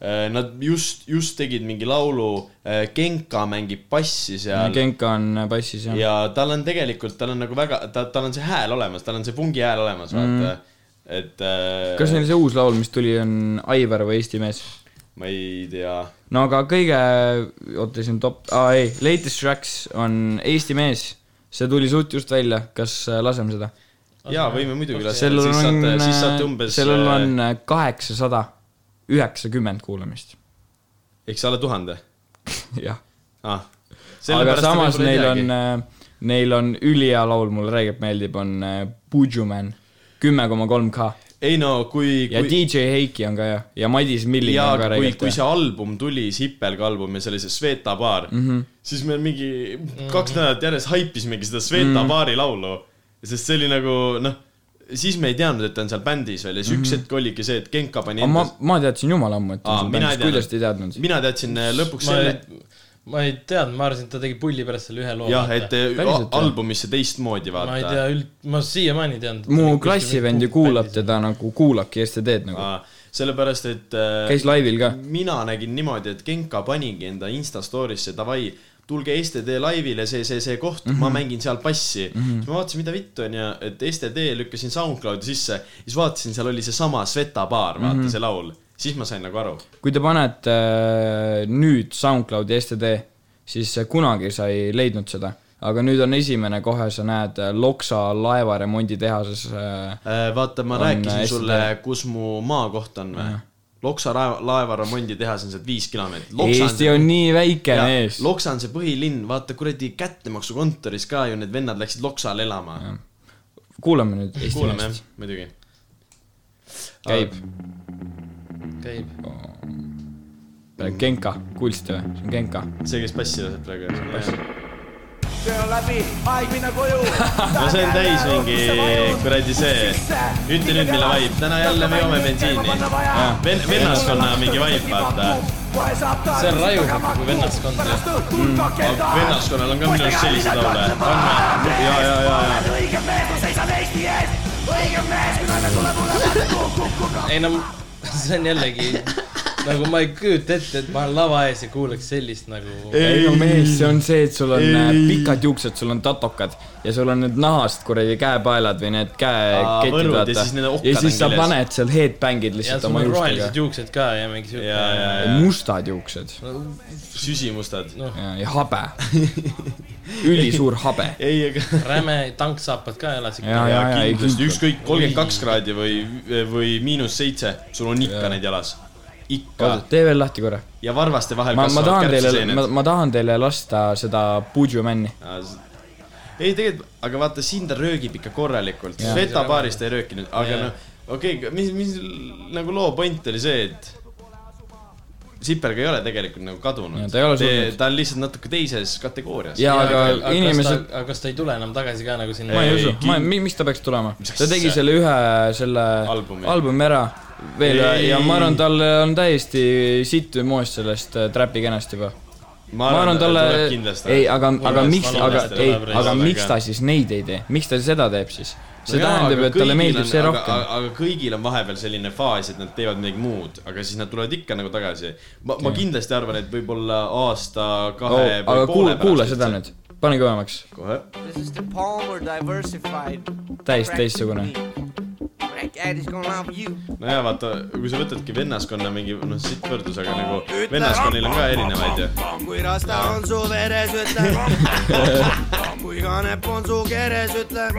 Speaker 1: Nad just , just tegid mingi laulu , Genka mängib bassi seal
Speaker 3: Genka on bassis jah .
Speaker 1: ja tal on tegelikult , tal on nagu väga , ta , tal on see hääl olemas , tal on see pungi hääl olemas , vaata mm. . et äh,
Speaker 3: kas neil see uus laul , mis tuli , on Aivar või Eesti mees ?
Speaker 1: ma ei tea ,
Speaker 3: no aga kõige , oota siin top , aa ei , Latest Tracks on Eesti mees , see tuli suht just välja , kas äh, laseme seda ?
Speaker 1: jaa , võime muidugi lasta ,
Speaker 3: sellel
Speaker 1: siis
Speaker 3: on äh,
Speaker 1: saate ,, siis saate umbes , äh,
Speaker 3: sellel on kaheksasada üheksakümmend kuulamist , (laughs)
Speaker 1: eks alla tuhande ,
Speaker 3: jah .
Speaker 1: ah .
Speaker 3: aga samas neil on , neil on ülihea laul , mulle räigelt meeldib , on äh, Pujuman , kümme koma kolm K .
Speaker 1: ei no kui ,
Speaker 3: ja
Speaker 1: kui ,
Speaker 3: DJ Heiki on ka jah , ja Madis Milling
Speaker 1: ja
Speaker 3: on ka
Speaker 1: kui ,
Speaker 3: räigelt
Speaker 1: kui
Speaker 3: hea .
Speaker 1: see album tuli , Sipelga album ja see oli see Sveta baar mm ,
Speaker 3: Mhm.
Speaker 1: -hmm. siis me mingi
Speaker 5: Mhm.
Speaker 1: kaks nädalat järjest haipisimegi seda Sveta
Speaker 3: Mhm.
Speaker 1: mm -hmm. baari laulu , sest see oli nagu noh , siis me ei teadnud , et ta on seal bändis veel ja siis üks hetk oligi see , et Genka pani
Speaker 3: Mhm. aga ma
Speaker 1: endas- ,
Speaker 3: ma teadsin jumala ammu , et ta
Speaker 1: Aa,
Speaker 3: on seal
Speaker 1: mina ei
Speaker 3: bändis ,
Speaker 1: teadnud.
Speaker 3: kuidas te ei teadnud ?
Speaker 1: mina teadsin äh, lõpuks
Speaker 5: ma
Speaker 1: selle ,
Speaker 5: ei , ma ei teadnud , ma arvasin , et ta tegi pulli pärast selle ühe loo .
Speaker 1: jah , et äh,
Speaker 3: Päriselt, jah?
Speaker 1: albumisse teistmoodi
Speaker 5: ma ei
Speaker 1: vaata .
Speaker 5: tea üld- , ma siiamaani ei teadnud .
Speaker 3: mu klassivend ju kuulab . teda nagu , kuulabki STD-d nagu ,
Speaker 1: sellepärast , et äh,
Speaker 3: käis laivil ka .
Speaker 1: mina nägin niimoodi , et Genka panigi enda Insta story'sse davai , tulge STD laivile , see , see , see koht mm , -hmm. ma mängin seal bassi mm . -hmm. siis ma vaatasin , mida vittu onju , et STD lükkasin SoundCloudi sisse , siis vaatasin , seal oli seesama Sveta baar , vaata mm -hmm. see laul , siis ma sain nagu aru .
Speaker 3: kui te panete äh, nüüd SoundCloudi STD , siis äh, kunagi sa ei leidnud seda , aga nüüd on esimene , kohe sa näed äh, Loksa laevaremonditehases äh,
Speaker 1: vaata , ma
Speaker 3: On,
Speaker 1: on
Speaker 3: äh,
Speaker 1: rääkisin sulle
Speaker 3: STD. ,
Speaker 1: kus mu maakoht on või ? Loksa laeva , laevaremonditehas on sealt viis kilomeetrit .
Speaker 3: Eesti on nii väike
Speaker 1: ja
Speaker 3: mees .
Speaker 1: Loksa on see põhilinn , vaata kuradi kättemaksukontoris ka ju need vennad läksid Loksale elama .
Speaker 3: kuulame nüüd Eesti
Speaker 1: kuulame jah
Speaker 3: meest ,,
Speaker 1: muidugi . Ah,
Speaker 3: käib .
Speaker 5: käib .
Speaker 3: Genka , kuulsite või ? see on Genka .
Speaker 1: see , kes bassi laseb praegu , see on bassi .
Speaker 6: töö on läbi , aeg minna koju .
Speaker 1: no see on täis mingi kuradi see , ütle nüüd , mille vibe , täna jälle me joome bensiini .
Speaker 3: Ah.
Speaker 1: Ven- , vennaskonna mingi vibe , vaata .
Speaker 5: see on raju nagu vennaskond .
Speaker 1: Mm. vennaskonnal on ka minu arust selliseid laule . ja , ja , ja , ja .
Speaker 5: ei no (laughs) see on jällegi nagu ma ei kujuta ette , et ma olen lava ees ja kuuleks sellist nagu .
Speaker 3: ei no mees , see on see , et sul on äh,
Speaker 1: Ei.
Speaker 3: pikad juuksed , sul on tatokad ja sul on need nahast kuradi käepaelad või need käeketid ,
Speaker 1: võrud ja
Speaker 3: vaata
Speaker 1: siis need . okkad
Speaker 3: ja siis
Speaker 1: on
Speaker 3: sa
Speaker 1: küljes.
Speaker 3: paned seal headbang'id
Speaker 5: ja
Speaker 3: lihtsalt
Speaker 5: sul
Speaker 3: oma
Speaker 5: on
Speaker 3: juustega
Speaker 5: rohelised . juuksed ka ja mingi
Speaker 1: ja , ja ,
Speaker 5: siuke .
Speaker 1: ja .
Speaker 3: mustad juuksed
Speaker 1: süsimustad .
Speaker 3: ja, ja habe . ülisuur habe .
Speaker 1: ei , aga
Speaker 5: räme tanksaapad ka jalas
Speaker 3: Jaa,
Speaker 5: ikka .
Speaker 1: ja
Speaker 3: jaa, jaa, ei,
Speaker 1: kindlasti
Speaker 3: kindlalt.
Speaker 1: ükskõik kolmkümmend kaks kraadi või , või miinus seitse , sul on ikka need jalas . ikka .
Speaker 3: tee veel lahti korra .
Speaker 1: ja varvaste vahel
Speaker 3: ma , ma tahan
Speaker 1: kasvavad
Speaker 3: teile , ma,
Speaker 1: kärtsiseened .
Speaker 3: ma tahan teile lasta seda Puju Männi .
Speaker 1: ei tegelikult , aga vaata , siin ta röögib ikka korralikult ,
Speaker 3: Jaa.
Speaker 1: Sveta baarist ta ei röökinud , aga
Speaker 5: Jaa.
Speaker 1: noh , okei okay, , mis , mis nagu loo point oli see , et Sipelga ei ole tegelikult nagu kadunud
Speaker 3: Jaa, ta ei ole . surnud.
Speaker 1: ta on lihtsalt natuke teises kategoorias .
Speaker 3: ja aga inimesed ,.
Speaker 5: aga kas ta ei tule enam tagasi ka nagu sinna ?
Speaker 3: ma ei usu
Speaker 1: kind- ,
Speaker 3: ma , miks ta peaks tulema ? ta
Speaker 1: asja?
Speaker 3: tegi selle ühe , selle
Speaker 1: Albumi.
Speaker 3: albumi ära veel
Speaker 1: Ei.
Speaker 3: ja ma arvan , tal on täiesti sitt või moos sellest äh, trapi kenasti juba .
Speaker 1: ma
Speaker 3: ma arvan , talle , ei ,
Speaker 1: kindlasti .
Speaker 3: aga , aga
Speaker 5: Urmas
Speaker 3: miks ,
Speaker 5: Valumäest
Speaker 3: aga
Speaker 5: tuleb
Speaker 3: ei ,
Speaker 5: reis-
Speaker 3: aga
Speaker 1: Valumäe
Speaker 3: miks
Speaker 1: ka.
Speaker 3: ta siis neid ei tee , miks ta seda teeb siis ? see tähendab , et talle meeldib see rohkem .
Speaker 1: aga kõigil on vahepeal selline faas , et nad teevad midagi muud , aga siis nad tulevad ikka nagu tagasi . ma , ma kindlasti arvan , et võib-olla aasta , kahe või
Speaker 3: Oh, aga
Speaker 1: poole
Speaker 3: kuula ,
Speaker 1: pärast
Speaker 3: kuula
Speaker 1: üldse.
Speaker 3: seda nüüd , pane kõvemaks
Speaker 1: kohe .
Speaker 6: This is the Palmer diversified
Speaker 3: Täiesti teistsugune.
Speaker 6: That cat is gonna love you.
Speaker 1: nojah , vaata , kui sa võtadki vennaskonna mingi , noh , siit võrdlus , aga nagu vennaskonnil on ka erinevaid ju .
Speaker 6: kui rasta on su veres , ütle . kui kanep on su keres , ütle .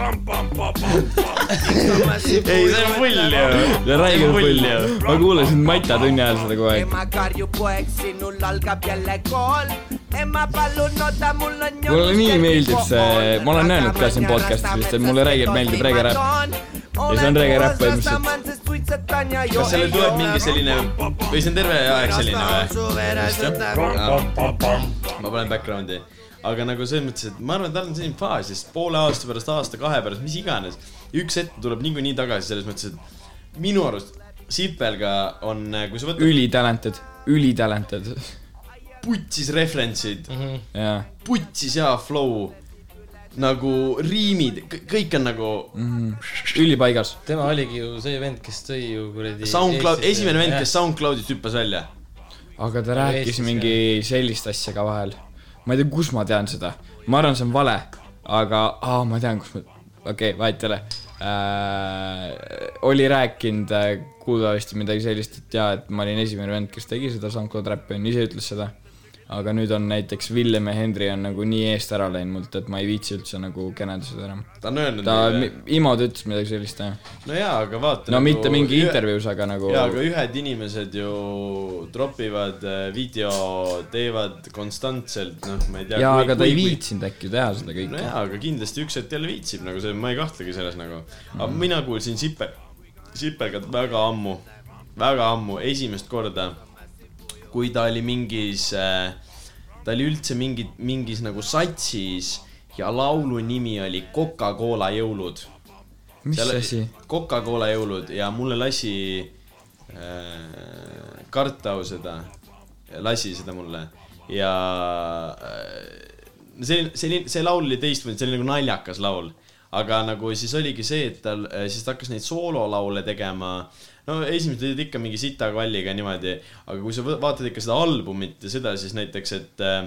Speaker 1: ei , see on pull ju .
Speaker 3: räigelt pull ju . ma kuulasin Maita tunni ajal seda kogu aeg .
Speaker 6: ema karjub poeg , sinul algab jälle kool . ema palun oota , mul on .
Speaker 3: Mulle nii meeldib see- ma olen öelnud ka siin podcastis vist, et mulle räigelt meeldib regeräpp. Ja see on regeräpp
Speaker 6: põhimõtteliselt .
Speaker 1: kas sellel tuleb mingi selline või see on terve aeg selline või ? ma panen background'i , aga nagu selles mõttes , et ma arvan , et tal on selline faas , sest poole aasta pärast , aasta-kahe pärast , mis iganes , üks hetk tuleb niikuinii tagasi selles mõttes , et minu arust Sipelga on , kui sa võtad
Speaker 3: ülitalented , ülitalented .
Speaker 1: putsis referentsid ,
Speaker 3: jaa ,
Speaker 1: putsis hea flow , nagu riimid , kõik on nagu
Speaker 3: ülipaigas .
Speaker 5: tema oligi ju see vend , kes tõi ju kuradi .
Speaker 1: SoundCloud , esimene vend , kes . SoundCloudist hüppas välja .
Speaker 3: aga ta rääkis
Speaker 5: Eestis,
Speaker 3: mingi sellist asja ka vahel . ma ei tea , kus ma tean seda . ma arvan , see on vale , aga aa , ma tean , kus ma , okei okay, , vahet ei ole äh, . oli rääkinud äh, kuulajasti midagi sellist , et jaa , et ma olin esimene vend , kes tegi seda SoundCloud räppi , on ise ütles seda . aga nüüd on näiteks Villem ja Henry on nagu nii eest ära läinud mult , et ma ei viitsi üldse nagu keneda seda enam .
Speaker 1: ta on öelnud
Speaker 3: ta ,
Speaker 1: meile-
Speaker 3: Imod ütles midagi sellist , jah .
Speaker 1: no jaa , aga vaata .
Speaker 3: no mitte mingi . intervjuus , aga nagu
Speaker 1: nagu jaa , aga ühed inimesed ju tropivad äh, video , teevad konstantselt , noh , ma ei tea .
Speaker 3: jaa , aga ta ei . viitsinud äkki teha seda
Speaker 1: no
Speaker 3: kõike .
Speaker 1: jaa , aga kindlasti üks hetk jälle viitsib nagu see , ma ei kahtlegi selles nagu . aga mina kuulsin Sipe , Sipelgat väga ammu , väga ammu , esimest korda , kui ta oli mingis äh, , ta oli üldse mingi , mingis nagu satsis ja laulu nimi oli Coca-Cola jõulud
Speaker 3: mis
Speaker 1: seal
Speaker 3: asi ?
Speaker 1: Coca-Cola jõulud ja mulle lasi äh, Kartau seda , lasi seda mulle ja äh, see , see , see laul oli teistmoodi , see oli nagu naljakas laul , aga nagu siis oligi see , et tal , siis ta hakkas neid soololaule tegema no esimesed olid ikka mingi sita kalliga niimoodi , aga kui sa võ- vaatad ikka seda albumit ja seda , siis näiteks , et äh,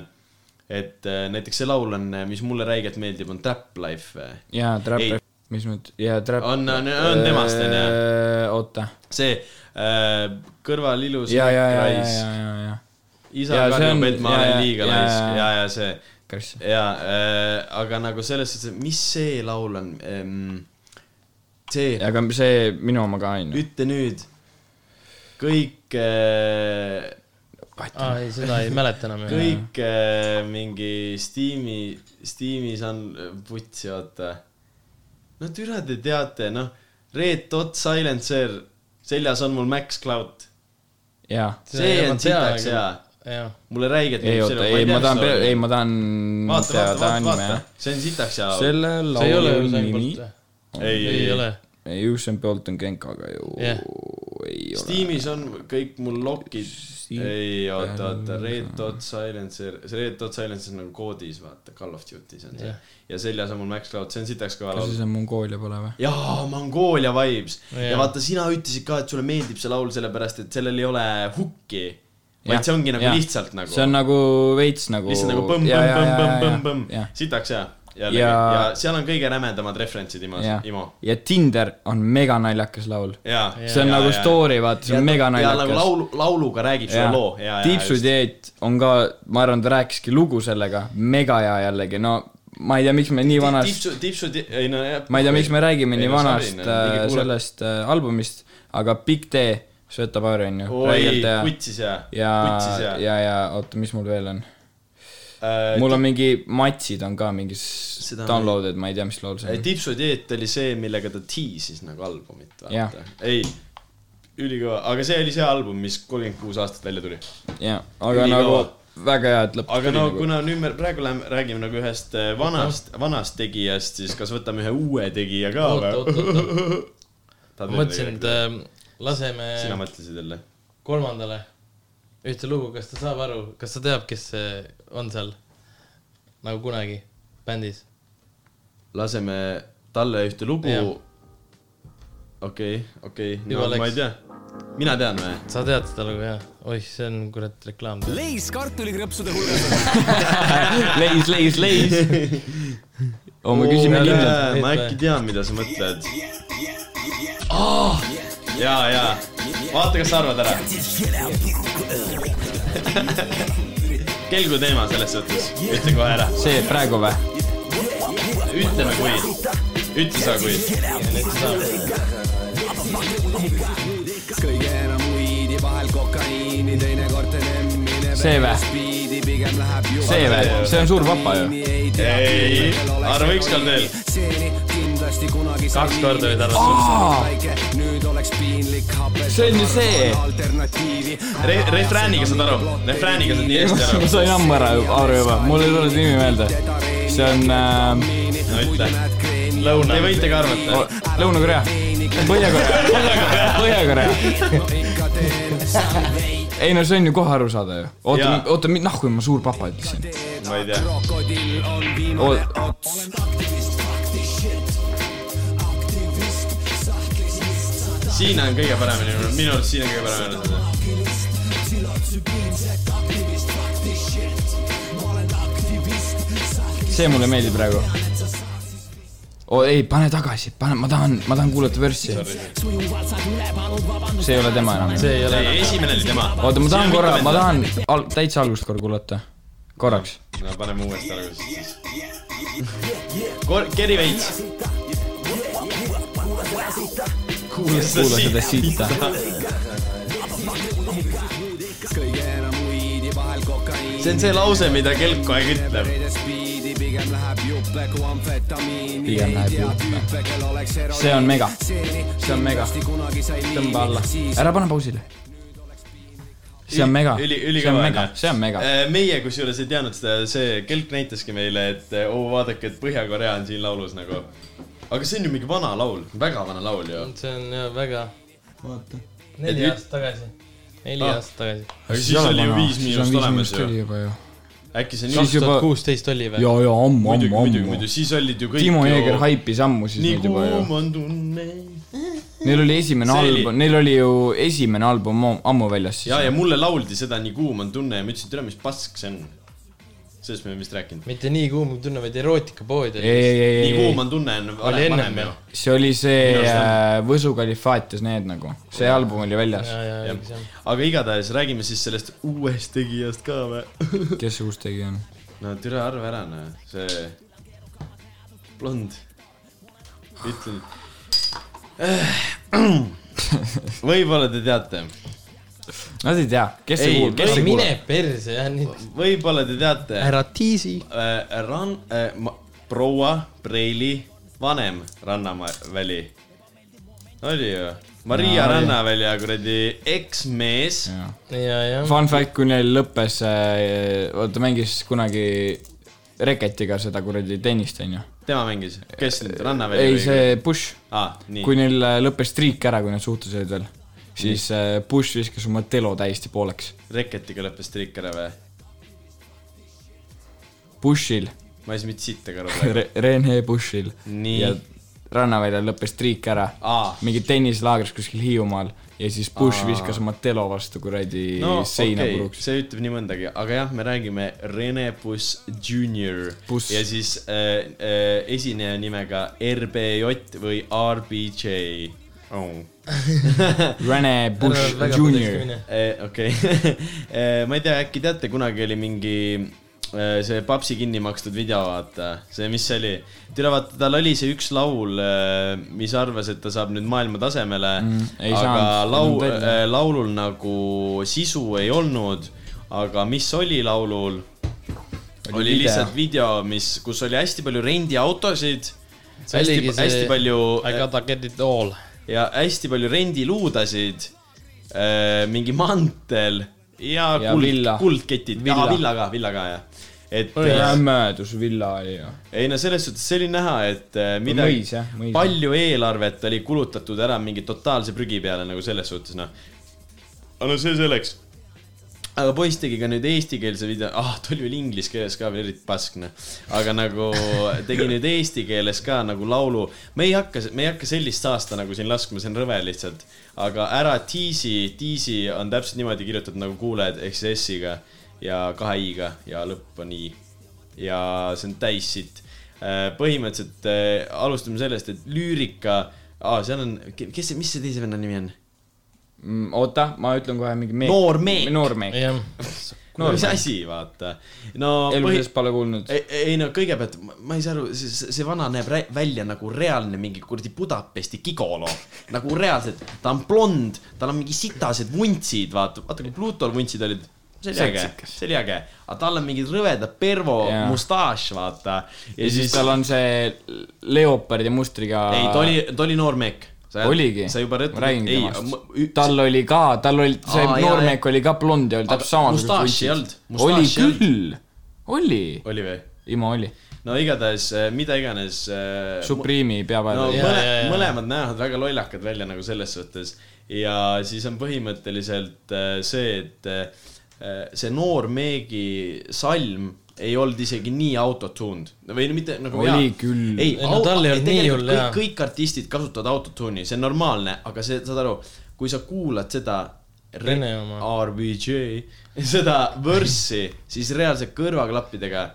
Speaker 1: et äh, näiteks see laul on , mis mulle räigelt meeldib , on Trap Life äh,
Speaker 3: jaa ,
Speaker 1: Ei.
Speaker 3: Trap , mis nüüd , jaa , Trap .
Speaker 1: On- on-
Speaker 3: Äh,
Speaker 1: on temast, on ju. .
Speaker 3: oota ,
Speaker 1: see äh, kõrval ilus
Speaker 3: jaa , jaa , jaa , jaa ,
Speaker 1: raisk ,
Speaker 3: jaa , jaa ,
Speaker 1: isa
Speaker 3: jaa, see
Speaker 1: karjub ,
Speaker 3: on-
Speaker 1: et ma
Speaker 3: jaa,
Speaker 1: olen
Speaker 3: jaa,
Speaker 1: liiga
Speaker 3: jaa,
Speaker 1: laisk
Speaker 3: jaa.
Speaker 1: ja , ja see
Speaker 3: jaa .
Speaker 1: ja äh, aga nagu selles suhtes , et mis see laul on ähm, , see ,
Speaker 3: aga see minu oma ka on ju .
Speaker 1: ütle nüüd kõik äh, ,
Speaker 5: aa , ei , seda ei mäleta enam ju .
Speaker 1: kõik äh, mingi Steam'i , Steam'is on , putsi , oota . no türa te teate , noh , Red Dot Silencer , seljas on mul Max Cloud ,
Speaker 3: jaa .
Speaker 1: see on sitaks hea
Speaker 5: jah ,
Speaker 1: mulle räigelt
Speaker 3: ei oota , ei ma tahan , ei ma tahan
Speaker 1: vaata ,
Speaker 3: teada
Speaker 1: vaata , vaata ,
Speaker 3: anime
Speaker 1: vaata , see on sitaks ja .
Speaker 3: selle
Speaker 5: see ei ole
Speaker 3: laulu
Speaker 5: ju Usain
Speaker 3: nimi
Speaker 5: Bolt või ?
Speaker 1: ei ,
Speaker 5: ei ole .
Speaker 3: ei , Usain Bolt on Genkaga ju
Speaker 5: Jah.
Speaker 3: ei ole .
Speaker 1: Steamis on kõik mul lokid ,
Speaker 3: Steam-
Speaker 1: ei oota , oota , Red Dot Silencer , see Red Dot Silencer on nagu koodis , vaata , Call of Duty's on see
Speaker 5: Jah.
Speaker 1: ja seljas on mul Max Cloud , see on sitaks kõva
Speaker 3: kas
Speaker 1: laul
Speaker 3: see on Mongoolia pole või ?
Speaker 1: jaa , Mongoolia vibes ja.
Speaker 5: Jah.
Speaker 1: ja vaata , sina ütlesid ka , et sulle meeldib see laul sellepärast , et sellel ei ole hukki ,
Speaker 3: Jah,
Speaker 1: vaid see ongi nagu
Speaker 3: jah.
Speaker 1: lihtsalt nagu ,
Speaker 3: see on nagu veits nagu .
Speaker 1: lihtsalt nagu põmm-põmm-põmm-põmm-põmm , sitaks hea , jällegi ja... ja
Speaker 3: Ja- ,
Speaker 1: seal on kõige rämedamad referentsid Imos , Imo .
Speaker 3: ja Tinder on mega naljakas laul .
Speaker 1: jaa .
Speaker 3: see on nagu story , vaata , see on mega
Speaker 1: ja nagu
Speaker 3: naljakas .
Speaker 1: laulu , lauluga räägib sulle loo , jaa , jaa .
Speaker 3: tiipsu dieet on ka , ma arvan , ta rääkiski lugu sellega , mega hea jällegi , no ma ei tea , miks me nii vanast ,
Speaker 1: tipsu , tipsu , ei no jah .
Speaker 3: ma ei tea , miks me räägime nii vanast äh,
Speaker 1: sellest .
Speaker 3: sellest äh, albumist , aga Big D , Sveta Power on ju ,
Speaker 1: oi
Speaker 3: räigelt , hea .
Speaker 1: kutsis hea ,
Speaker 3: ja ,
Speaker 1: kutsis Äh,
Speaker 3: ja ,
Speaker 1: hea .
Speaker 3: ja, ja oota , mis mul veel on ? mul on mingi , Matsid on ka mingis
Speaker 1: Seda ma ei-
Speaker 3: downloaded , ma ei tea , mis laul see on .
Speaker 1: tipsu dieet oli see , millega ta tiisis nagu albumit ,
Speaker 3: Jah.
Speaker 1: vaata . ei , ülikõva , aga see oli see album , mis kolmkümmend kuus aastat välja tuli .
Speaker 3: jaa , aga
Speaker 1: Ülikõva.
Speaker 3: nagu väga hea , et lõpuks
Speaker 1: aga no . kuna nüüd me praegu läheme , räägime nagu ühest äh, vanast , vanast tegijast , siis kas võtame ühe uue tegija ka
Speaker 5: oot , oot ,
Speaker 1: või ? (laughs)
Speaker 5: oot , oot , ma mõtlesin , et ähm, laseme
Speaker 1: sina mõtlesid jälle ?
Speaker 5: kolmandale ühte lugu , kas ta saab aru , kas ta teab , kes äh, on seal nagu kunagi bändis ?
Speaker 1: laseme talle ühte lugu
Speaker 5: Jah. .
Speaker 1: okei , okei ,
Speaker 5: Juba
Speaker 1: no ma
Speaker 5: läks.
Speaker 1: ei tea . mina tean või ?
Speaker 5: sa tead seda lugu jah ? oih , see on kurat reklaam .
Speaker 7: leis kartulikrõpsude hulgas .
Speaker 3: leis , leis ,
Speaker 1: (laughs)
Speaker 3: leis . oo , Oh, me küsime kindlalt .
Speaker 1: ma äkki tean , mida sa mõtled . ja , ja Ah! vaata , kas sa arvad ära . (laughs) kelgu teema selles suhtes , ütle kohe ära ,
Speaker 3: see praegu või ?
Speaker 1: ütleme kui , ütle sa kui .
Speaker 7: kõige enam uidi , vahel kokaiini , teinekord teen emmine .
Speaker 3: See vä?
Speaker 7: spiidi pigem läheb ju .
Speaker 3: see või ? see on suur vapa ju .
Speaker 1: ei , arva ükskord veel ,
Speaker 7: seeni kindlasti kunagi .
Speaker 5: kaks korda olid arvatud .
Speaker 7: nüüd oleks piinlik hape .
Speaker 3: see on ju see .
Speaker 7: alternatiivi .
Speaker 1: Re- , refrääniga saad aru , refrääniga saad nii hästi
Speaker 3: ma
Speaker 1: aru .
Speaker 3: sain ammu ära , aru juba , mul ei tulnud nimi meelde . see on äh,
Speaker 1: no ütle . lõuna . Te võite ka arvata .
Speaker 3: o- Lõuna-Korea , Põhja-Korea ,
Speaker 5: (laughs)
Speaker 3: Põhja-Korea . ei no see on ju kohe aru saada ju . oota
Speaker 1: Jaa. ,
Speaker 3: oota , nahku ma suur papa ütlesin .
Speaker 1: ma ei tea . siin on kõige paremini , minu arust siin on kõige paremini .
Speaker 3: see mulle meeldib praegu . oo ei , pane tagasi , pane , ma tahan , ma tahan kuulata vörssi . see ei ole tema enam .
Speaker 5: see ei ole
Speaker 1: ei ,
Speaker 5: enam .
Speaker 1: esimene oli tema .
Speaker 3: oota , ma tahan korra , ma tahan al täitsa algust korra kuulata . korraks .
Speaker 1: no paneme uuesti algusest siis . Kor- , keri veits . kuule
Speaker 3: kuula seda . sitta .
Speaker 1: see on see lause , mida kelk kogu aeg ütleb .
Speaker 3: pigem läheb juurde . see on mega , see on mega . tõmba alla , ära pane pausile . see on mega ,
Speaker 1: üli ,
Speaker 3: see on
Speaker 1: ülikõva noh. Äh,
Speaker 3: mega , see on mega .
Speaker 1: meie kusjuures ei teadnud seda , see kelk näitaski meile , et eh, oo vaadake , et Põhja-Korea on siin laulus nagu . aga see on ju mingi vana laul , väga vana laul ju .
Speaker 5: see on jah väga . vaata .
Speaker 1: Et
Speaker 5: neli
Speaker 1: nüüd-
Speaker 5: aastat tagasi . neli
Speaker 1: Ah.
Speaker 5: aastat tagasi .
Speaker 1: aga siis oli ju viis miinust olemas ju .
Speaker 3: juba ju .
Speaker 1: äkki see on just ,
Speaker 3: Siis
Speaker 5: kaks
Speaker 3: juba-
Speaker 5: tuhat kuusteist oli või ?
Speaker 3: ja , ja ammu ,
Speaker 1: muidugi ,
Speaker 3: ammu ,
Speaker 1: muidugi ,
Speaker 3: ammu
Speaker 1: muidugi , siis olid ju kõik .
Speaker 3: Timo Jeeger . haipis ammu siis
Speaker 1: nii
Speaker 3: neid juba ju
Speaker 1: kuum . on tunne .
Speaker 3: Neil oli esimene
Speaker 1: See oli-
Speaker 3: album , neil oli ju esimene album am- ammu väljas siis
Speaker 1: ja , ja . mulle lauldi seda Nii kuum on tunne ja ma ütlesin , et üle , mis pask see on . sellest me oleme vist rääkinud .
Speaker 5: mitte nii kuum kui tunne , vaid erootikapood
Speaker 3: ei ,
Speaker 5: oli .
Speaker 3: ei , ei ,
Speaker 1: nii
Speaker 3: ei ,
Speaker 1: kuum on tunne on
Speaker 5: oli
Speaker 1: vanem ,
Speaker 5: ennem
Speaker 1: vanem ju
Speaker 5: ju. .
Speaker 3: see oli see
Speaker 1: Minu arust
Speaker 3: äh, Võsu kalifaatias need nagu , see album oli väljas
Speaker 5: ja , ja , õige see on .
Speaker 1: aga igatahes räägime siis sellest uuest tegijast ka või ?
Speaker 3: kes see uus tegija on ?
Speaker 1: no türa arva ära noh , see blond , ütlen . (clears throat) võib-olla te teate ,
Speaker 3: Nad ei tea , kes see
Speaker 1: Ei,
Speaker 3: kuulab , kes
Speaker 1: ei,
Speaker 3: see
Speaker 5: mine
Speaker 3: kuulab .
Speaker 5: perse , jah , nüüd .
Speaker 1: võib-olla te teate
Speaker 5: ära tiisi .
Speaker 1: äh, ran- äh, , proua Preili vanem Rannaväli . oli ju , Maria
Speaker 3: Jaa, oli.
Speaker 1: Rannavälja kuradi eksmees ,
Speaker 5: ja , ja .
Speaker 3: Fun fact , kui neil lõppes äh, , oota mängis kunagi reketiga seda kuradi tennist onju .
Speaker 1: tema mängis , kes nüüd , Rannaväli
Speaker 3: ei ,? see Bush ,
Speaker 1: Ah, nii.
Speaker 3: kui neil äh, lõppes triik ära , kui nad suhtes olid veel , siis äh, Bush viskas oma telo täiesti pooleks .
Speaker 1: reketiga lõppes triik ära või ?
Speaker 3: Bushil
Speaker 1: ma ei saa mitte sitta
Speaker 3: (laughs)
Speaker 1: ka aru praegu .
Speaker 3: Re- Rene Bushil
Speaker 1: Nii.
Speaker 3: ja rannaväljal lõppes triik ära
Speaker 1: Aa.
Speaker 3: mingi tenniselaagris kuskil Hiiumaal ja siis Bush Aa. viskas oma telo vastu kuradi no, seina okay. puruks .
Speaker 1: see ütleb nii mõndagi , aga jah , me räägime Rene Buss Junior
Speaker 3: Buss.
Speaker 1: ja siis äh, äh, esineja nimega RBJ või RBJ oh. .
Speaker 3: Rene Bush Junior .
Speaker 1: Eh, okei , (laughs) ma ei tea , äkki teate , kunagi oli mingi eh, see papsi kinni makstud video , vaata , see , mis see oli , tule vaata , tal oli see üks laul , mis arvas , et ta saab nüüd maailma tasemele mm, ,
Speaker 3: ei
Speaker 1: aga
Speaker 3: saanud.
Speaker 1: lau-
Speaker 3: Ei olnud ,
Speaker 1: laulul nagu sisu ei olnud , aga mis oli laulul , oli, oli
Speaker 3: video.
Speaker 1: lihtsalt video , mis , kus oli hästi palju rendiautosid ,
Speaker 5: See
Speaker 1: hästi
Speaker 5: oligi , see-
Speaker 1: hästi palju
Speaker 5: I gotta get it all .
Speaker 1: ja hästi palju rendiluudasid , mingi mantel ja,
Speaker 3: Ja
Speaker 1: ja kuld
Speaker 3: villa. ,
Speaker 1: kuldketid ,
Speaker 3: Villa.
Speaker 1: villa ka , villa ka jah . et äh,
Speaker 3: möödus villa oli ju .
Speaker 1: ei no selles suhtes , see oli näha , et äh, midagi
Speaker 3: mõis, jah, mõis.
Speaker 1: palju eelarvet oli kulutatud ära mingi totaalse prügi peale nagu selles suhtes noh . aga no see selleks . aga poiss tegi ka nüüd eestikeelse video , ah ta oli veel inglise keeles ka veel eriti pask noh . aga nagu tegi nüüd eesti keeles ka nagu laulu , me ei hakka , me ei hakka sellist saasta nagu siin laskma , see on rõve lihtsalt . aga ära tiisi , tiisi on täpselt niimoodi kirjutatud nagu kuulajad ehk siis S-iga ja kahe i-ga ja lõpp on i ja äh, see on täis sitt . põhimõtteliselt äh, alustame sellest , et lüürika aa , seal on , kes see , mis see teise venna nimi on ?
Speaker 3: mm, . oota , ma ütlen kohe mingi meek .
Speaker 1: Noor Meek.
Speaker 3: noor meek .
Speaker 5: jah ,
Speaker 3: Noor
Speaker 1: mis asi , vaata . no
Speaker 3: elu
Speaker 1: põhi-
Speaker 3: sees pole kuulnud .
Speaker 1: ei , ei no kõigepealt ma ma ei saa aru , see , see see vana näeb rä- välja nagu reaalne mingi kuradi Budapesti gigolo . nagu reaalselt , ta on blond , tal on mingi sitased vuntsid , vaata , vaata kui Pluutol vuntsid olid . see oli äge , see oli äge , aga tal on mingi rõveda pervo
Speaker 3: Jaa.
Speaker 1: mustaaž , vaata .
Speaker 3: ja siis tal on see leopardi mustriga .
Speaker 1: ei , ta oli , ta oli noor meek .
Speaker 3: oligi .
Speaker 1: sa juba
Speaker 3: ma räägin temast .
Speaker 1: ei ,
Speaker 3: tal oli ka , tal oli , see
Speaker 1: Aa, jaa,
Speaker 3: noormeek oli ka blond ja oli
Speaker 1: Aga
Speaker 3: täpselt samasugune .
Speaker 1: mustaaši ei olnud?
Speaker 3: oli
Speaker 1: Mustaaši ei olnud?
Speaker 3: küll , oli ,
Speaker 1: oli või ?
Speaker 3: ima oli .
Speaker 1: no igatahes , mida iganes . eh,
Speaker 3: Supreme'i peavaja
Speaker 1: no
Speaker 3: oli.
Speaker 5: Jaa,
Speaker 1: mõle,
Speaker 5: jaa, jaa.
Speaker 1: mõlemad näevad väga lollakad välja nagu selles suhtes ja siis on põhimõtteliselt äh, see , et äh, see noor Meegi salm ei olnud isegi nii autotuned või no mitte nagu
Speaker 3: Oli
Speaker 1: jaa.
Speaker 3: küll.
Speaker 1: ei,
Speaker 5: Ei no tal ei olnud nii
Speaker 1: tegelikult
Speaker 5: hull, jaa.
Speaker 1: kõik, kõik artistid kasutavad autotune'i , see on normaalne , aga see , saad aru , kui sa kuulad seda
Speaker 5: Rene oma.
Speaker 1: RBJ , seda võrssi , siis reaalselt kõrvaklappidega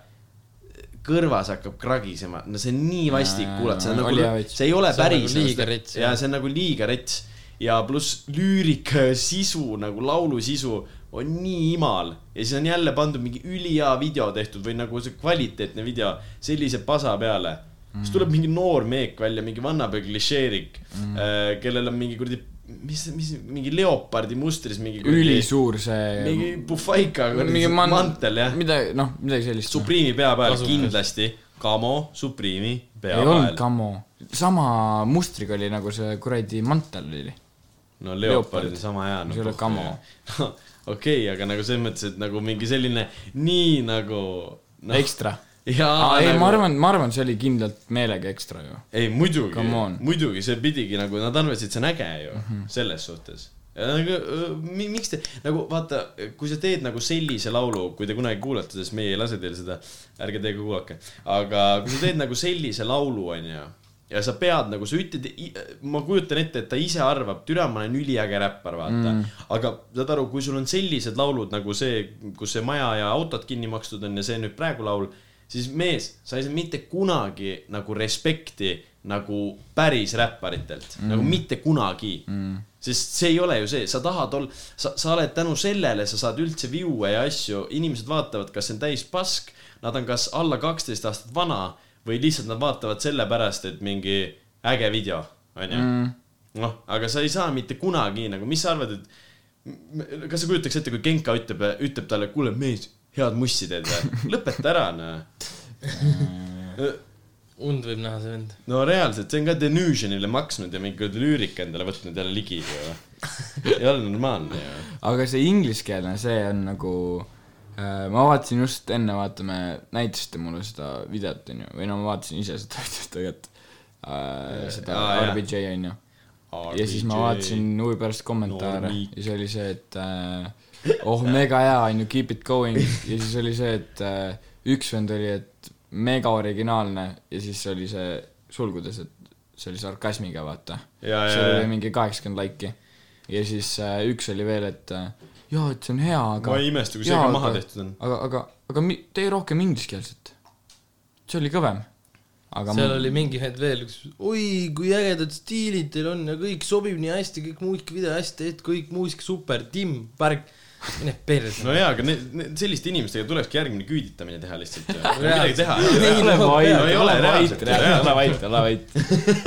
Speaker 1: kõrvas hakkab kragisema , no see on nii vastik
Speaker 3: Jaa,
Speaker 1: kuulata , see on
Speaker 3: jaa,
Speaker 1: nagu
Speaker 3: oli hea , veits.
Speaker 1: see ei ole
Speaker 5: See on
Speaker 1: päris
Speaker 5: nagu liiga rets,
Speaker 1: ja
Speaker 5: jah.
Speaker 1: see on nagu liiga rets ja pluss lüürika ja sisu nagu laulu sisu on nii imal ja siis on jälle pandud mingi ülihea video tehtud või nagu see kvaliteetne video sellise pasa peale mm. . siis tuleb mingi noor meek välja , mingi vannapea klišeerik mm. , kellel on mingi kuradi , mis , mis mingi leopardi mustris mingi
Speaker 3: ülisuur see .
Speaker 1: mingi pufaika kuradi
Speaker 3: man-
Speaker 1: mantel jah .
Speaker 3: mida , noh , midagi sellist .
Speaker 1: Supreme'i pea peal
Speaker 5: Kasukas.
Speaker 1: kindlasti , Kamo , Supreme'i pea
Speaker 3: ei olnud
Speaker 1: peal .
Speaker 3: kammo , sama mustriga oli nagu see kuradi mantel oli .
Speaker 1: no leopard on
Speaker 3: Leopard.
Speaker 1: sama hea .
Speaker 3: See
Speaker 1: (laughs)
Speaker 3: ei ole Kamo. .
Speaker 1: okei , aga nagu selles mõttes , et nagu mingi selline nii nagu no,
Speaker 3: ekstra .
Speaker 1: jaa
Speaker 3: aa , ei ,
Speaker 1: nagu,
Speaker 3: ma . arvan , ma arvan , see oli kindlalt meelega ekstra ju .
Speaker 1: ei muidugi
Speaker 3: Come on. , Mhm.
Speaker 1: muidugi see pidigi nagu , nad arvasid , see on äge ju mm -hmm. selles suhtes . Nagu, öö, mi- miks te nagu vaata , kui sa teed nagu sellise laulu , kui te kunagi kuulete , sest meie ei lase teil seda , ärge teiega kuulake , aga kui sa teed nagu sellise laulu , onju , ja sa pead nagu sa ütled , ma kujutan ette , et ta ise arvab , türa , ma olen üliäge räppar , vaata mm. . aga saad aru , kui sul on sellised laulud nagu see , kus see maja ja autod kinni makstud on ja see nüüd praegu laul , siis mees , sa ei saa mitte kunagi nagu respekti nagu päris räpparitelt mm. , nagu mitte kunagi mm. sest see ei ole ju see , sa tahad olla , sa , sa oled tänu sellele , sa saad üldse viue ja asju , inimesed vaatavad , kas see on täis pask nad on kas alla kaksteist aastat vana või lihtsalt nad vaatavad sellepärast , et mingi äge video , onju . noh , aga sa ei saa mitte kunagi nagu , mis sa arvad , et kas sa kujutaks ette , kui Genka ütleb , ütleb talle , kuule mees , head mussi teed või ? (laughs) lõpeta ära , noh .
Speaker 5: und võib näha see vend .
Speaker 1: no reaalselt , see on ka Denusionile maksnud ja mingi kuradi lüürika endale võtnud jälle ligi ju . ei ole normaalne ju .
Speaker 3: aga see ingliskeelne , see on nagu äh, ma vaatasin just enne , vaata , me näitasite mulle seda videot , onju , või no ma vaatasin ise seda (laughs) videot tegelikult äh, , seda
Speaker 1: Aa, jah.
Speaker 3: RBJ , onju . ja siis ma vaatasin huvi pärast kommentaare
Speaker 1: Normiik.
Speaker 3: ja see oli see , et äh, oh , mega hea , onju , keep it going ja siis oli see , et äh, üks vend oli , et mega originaalne ja siis oli see sulgudes , et see oli sarkasmiga , vaata .
Speaker 1: Jaa,
Speaker 3: seal
Speaker 1: jaa, jaa.
Speaker 3: oli mingi kaheksakümmend laiki . ja siis äh, üks oli veel , et äh, jaa , et see on hea , aga
Speaker 1: Ma ei imesta, kui see
Speaker 3: jaa,
Speaker 1: ka maha
Speaker 3: aga-
Speaker 1: tehtud on.
Speaker 3: aga , aga , aga mi- tee rohkem ingliskeelset . see oli kõvem . aga
Speaker 5: seal oli mingi vend veel , üks , oi , kui ägedad stiilid teil on ja kõik sobib nii hästi , kõik muusika video hästi tehtud , kõik muusika super , Tim , värk , mine perse .
Speaker 1: no jaa , aga need, need , selliste inimestega tulekski järgmine küüditamine teha lihtsalt ju . midagi
Speaker 5: Reaalselt.
Speaker 1: teha .
Speaker 3: ole vait ,
Speaker 1: No ei ole reaalselt.
Speaker 3: ole vait , ole vait .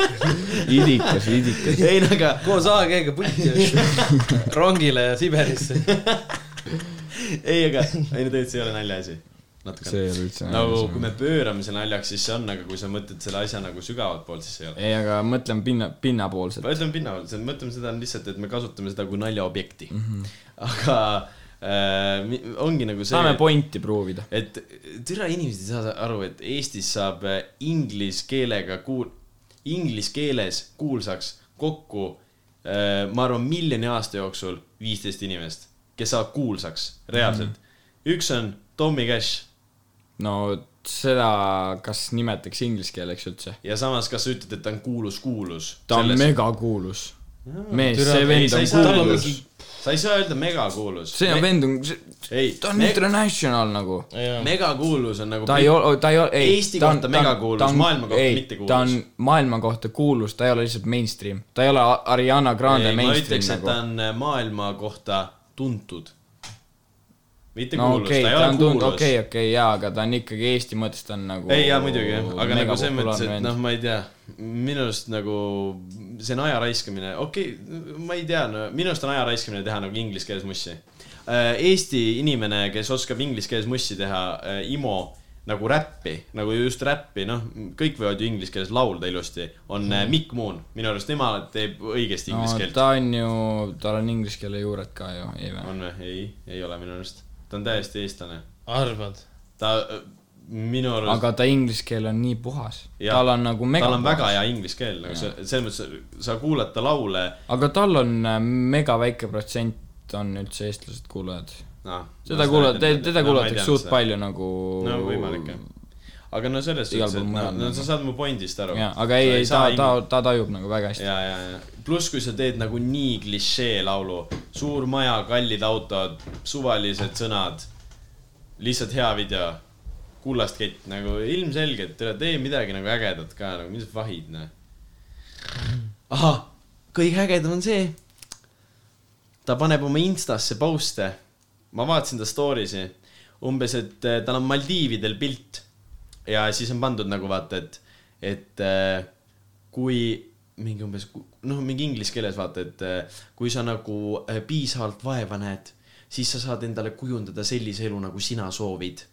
Speaker 1: (laughs)
Speaker 3: idikas , idikas .
Speaker 1: ei no aga
Speaker 5: koos AG-ga pulti ja (laughs) rongile ja Siberisse .
Speaker 1: ei , aga , ei no tegelikult see ei ole naljaasi .
Speaker 3: see
Speaker 1: natukene .
Speaker 3: ei ole üldse
Speaker 1: nagu kui me pöörame selle naljaks , siis see on , aga kui sa mõtled selle asja nagu sügavalt poolt , siis see ei ole .
Speaker 3: ei , aga mõtleme pinna , pinnapoolselt .
Speaker 1: mõtleme pinnapealselt , mõtleme seda lihtsalt , et me kasutame seda kui naljaobjekti mm .
Speaker 3: Mhm.
Speaker 1: -hmm. aga äh, mi- ongi nagu see .
Speaker 3: saame pointi proovida .
Speaker 1: et türa inimesed ei saa aru , et Eestis saab äh, inglise keelega kuul- , inglise keeles kuulsaks kokku äh, ma arvan , miljoni aasta jooksul viisteist inimest , kes saavad kuulsaks reaalselt mm .
Speaker 3: Mhm.
Speaker 1: -hmm. üks on Tommy Cash
Speaker 3: no seda , kas nimetaks inglise keeleks üldse ?
Speaker 1: ja samas , kas sa ütled , et ta on kuulus kuulus ?
Speaker 3: ta on megakuulus . mees ,
Speaker 5: Türa,
Speaker 3: see
Speaker 5: ei,
Speaker 3: vend
Speaker 1: sa ei
Speaker 3: on
Speaker 1: saa- tal on
Speaker 3: kuulus
Speaker 1: mingi- . sa ei saa öelda megakuulus .
Speaker 3: see on vend on ,
Speaker 1: ei ,
Speaker 3: ta on international nagu .
Speaker 1: megakuulus on nagu .
Speaker 3: ta ei ole , ta ei ole , ei .
Speaker 1: Eesti kohta megakuulus, maailma kohta mittekuulus.
Speaker 3: ta on maailma kohta kuulus , ta ei ole lihtsalt mainstream . ta ei ole A- Ariana Grande
Speaker 1: ei , ma
Speaker 3: mainstream
Speaker 1: ütleks , et ta
Speaker 3: nagu .
Speaker 1: on äh, maailma kohta tuntud . mitte
Speaker 3: no
Speaker 1: kuulus ,
Speaker 3: okei ,
Speaker 1: ta ei
Speaker 3: ta
Speaker 1: ole
Speaker 3: on tund- ,
Speaker 1: kuulus .
Speaker 3: okei , okei , jaa , aga ta on ikkagi Eesti mõttes , ta on nagu .
Speaker 1: ei , jaa , muidugi jah , aga nagu selles mõttes , et noh , ma ei tea , minu arust nagu see on aja raiskamine , okei okay, , ma ei tea no, , minu arust on aja raiskamine teha nagu inglise keeles mussi . Eesti inimene , kes oskab inglise keeles mussi teha , IMO nagu räppi , nagu just räppi , noh , kõik võivad ju inglise keeles laulda ilusti , on mm. Mikk Moon , minu arust tema teeb õigesti
Speaker 3: Mhm. no
Speaker 1: inglise keelt
Speaker 3: ta on ju , tal on inglise keele juured ka ju , ei
Speaker 1: no, .
Speaker 3: või ?
Speaker 1: on või ? ei , ei ole minu arust , ta on täiesti eestlane ,
Speaker 5: arvad ?
Speaker 1: ta öö, minu arust .
Speaker 3: aga ta inglise keel on nii puhas .
Speaker 1: Jah.
Speaker 3: tal on nagu mega
Speaker 1: tal on väga
Speaker 3: puhas .
Speaker 1: hea inglise keel , nagu see , selles mõttes sa kuulad ta laule ,
Speaker 3: aga tal on äh, mega väike protsent on üldse eestlased kuulajad .
Speaker 1: noh .
Speaker 3: seda kuulavad , teda kuulatakse suht . palju nagu .
Speaker 1: no võimalik jah . aga no selles
Speaker 3: Igal
Speaker 1: suhtes , et
Speaker 3: pool
Speaker 1: no,
Speaker 3: mujal
Speaker 1: no
Speaker 3: nagu.
Speaker 1: sa saad mu pointist aru .
Speaker 3: jaa , aga ei , ei ta , ta , ta tajub nagu väga hästi .
Speaker 1: ja , ja , ja pluss , kui sa teed nagu nii klišee laulu , suur maja , kallid autod , suvalised sõnad , lihtsalt hea video , kullast kett nagu ilmselgelt , tee midagi nagu ägedat ka nagu , mis vahid noh . ahah , kõige ägedam on see , ta paneb oma instasse post'e , ma vaatasin ta story si , umbes , et eh, tal on Maldiividel pilt ja siis on pandud nagu vaata , et , et eh, kui mingi umbes , noh , mingi inglise keeles vaata , et eh, kui sa nagu eh, piisavalt vaeva näed , siis sa saad endale kujundada sellise elu , nagu sina soovid .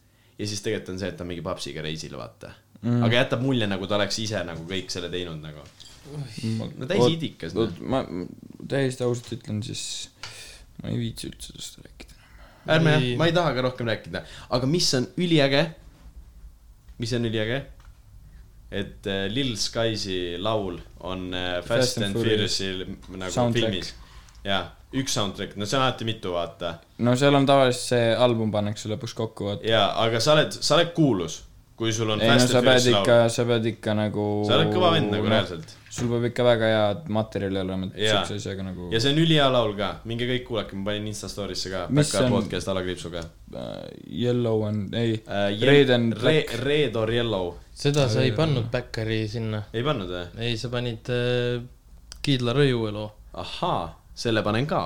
Speaker 1: ja siis tegelikult on see , et ta on mingi papsiga reisil , vaata mm. . aga jätab mulje , nagu ta oleks ise nagu kõik selle teinud nagu . no täis
Speaker 3: Oot-
Speaker 1: idikas .
Speaker 3: oot , ma ma täiesti ausalt ütlen , siis ma ei viitsi üldse sellest rääkida .
Speaker 1: ärme
Speaker 5: Ei. ,
Speaker 1: ma ei taha ka rohkem rääkida , aga mis on üliäge , mis on üliäge , et äh, Lil Skysi laul on äh, Fast, Fast and Furiousil nagu
Speaker 3: Soundtrack.
Speaker 1: soundtrack. filmis . jaa , üks soundtrack , no see on alati mitu , vaata .
Speaker 3: no seal on tavaliselt see album pannakse lõpuks kokku , vaata .
Speaker 1: jaa , aga sa oled , sa oled kuulus , kui sul on
Speaker 3: ei no
Speaker 1: Fast
Speaker 3: sa
Speaker 1: and
Speaker 3: pead
Speaker 1: Furious laul
Speaker 3: ikka . sa pead ikka nagu
Speaker 1: sa oled kõva vend nagu . reaalselt .
Speaker 3: sul peab ikka väga head materjali olema , et
Speaker 1: Jaa.
Speaker 3: siukse asjaga nagu
Speaker 1: ja see on ülihea laul ka , minge kõik kuulake , ma panin Insta story'sse ka ,
Speaker 3: Mis
Speaker 1: Backyard
Speaker 3: on-
Speaker 1: podcast alakriipsuga
Speaker 3: äh, Yellow on , ei
Speaker 1: äh, .
Speaker 3: Red and
Speaker 1: Re-
Speaker 3: Black ,
Speaker 1: Red or Yellow ,
Speaker 5: seda sa ei pannud Bäkkari sinna .
Speaker 1: ei pannud või ?
Speaker 5: ei , sa panid äh, Kiidla Rõiue loo .
Speaker 1: ahaa , selle panen ka .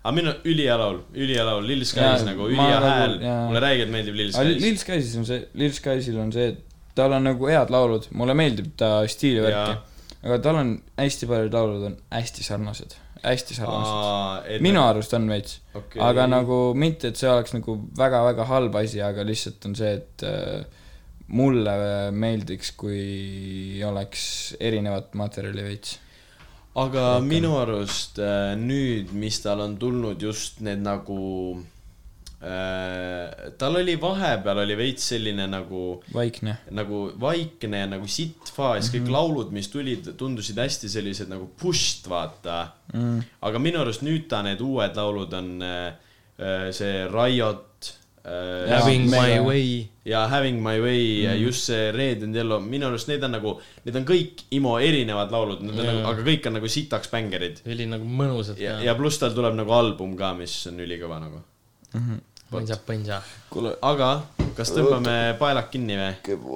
Speaker 1: aga minu ülihea laul , ülihea laul , Lil Skys
Speaker 3: Jaa,
Speaker 1: nagu
Speaker 3: ma
Speaker 1: ülihea
Speaker 3: nagu-
Speaker 1: hääl ,
Speaker 3: jaa.
Speaker 1: mulle räigelt meeldib Lil
Speaker 3: aga Ah, Lil
Speaker 1: Skys .
Speaker 3: Skysis on see , Lil Skysil on see , et tal on nagu head laulud , mulle meeldib ta stiili
Speaker 1: Jaa.
Speaker 3: värki , aga tal on hästi paljud laulud on hästi sarnased , hästi sarnased . minu
Speaker 1: minu
Speaker 3: arust on veits
Speaker 1: okay.
Speaker 3: okay. , aga . nagu mitte , et see oleks nagu väga-väga halb asi , aga lihtsalt on see , et äh, mulle meeldiks , kui oleks erinevat materjali veits .
Speaker 1: aga minu arust äh, nüüd , mis tal on tulnud just need nagu äh, , tal oli vahepeal oli veits selline nagu
Speaker 3: vaikne .
Speaker 1: nagu vaikne nagu sitt faas , kõik mm
Speaker 5: Mhm.
Speaker 1: -hmm. laulud , mis tulid , tundusid hästi sellised nagu push'd , vaata
Speaker 5: Mhm.
Speaker 1: mm. . aga minu arust nüüd ta need uued laulud on äh, äh, see Riot äh,
Speaker 3: Jaa,
Speaker 5: Having
Speaker 3: mega.
Speaker 5: my Mhm. way .
Speaker 1: ja Having my way ja mm. just see Red and Yellow , minu arust need on nagu , need on kõik IMO erinevad laulud , need on
Speaker 5: Jaa.
Speaker 1: yeah. nagu , aga kõik on nagu sitaks bängerid .
Speaker 5: oli nagu mõnusalt
Speaker 1: ja , ja pluss tal tuleb nagu album ka , mis on ülikõva nagu .
Speaker 5: põnsa , põnsa .
Speaker 3: kuule ,
Speaker 1: aga kas tõmbame paelad kinni või ?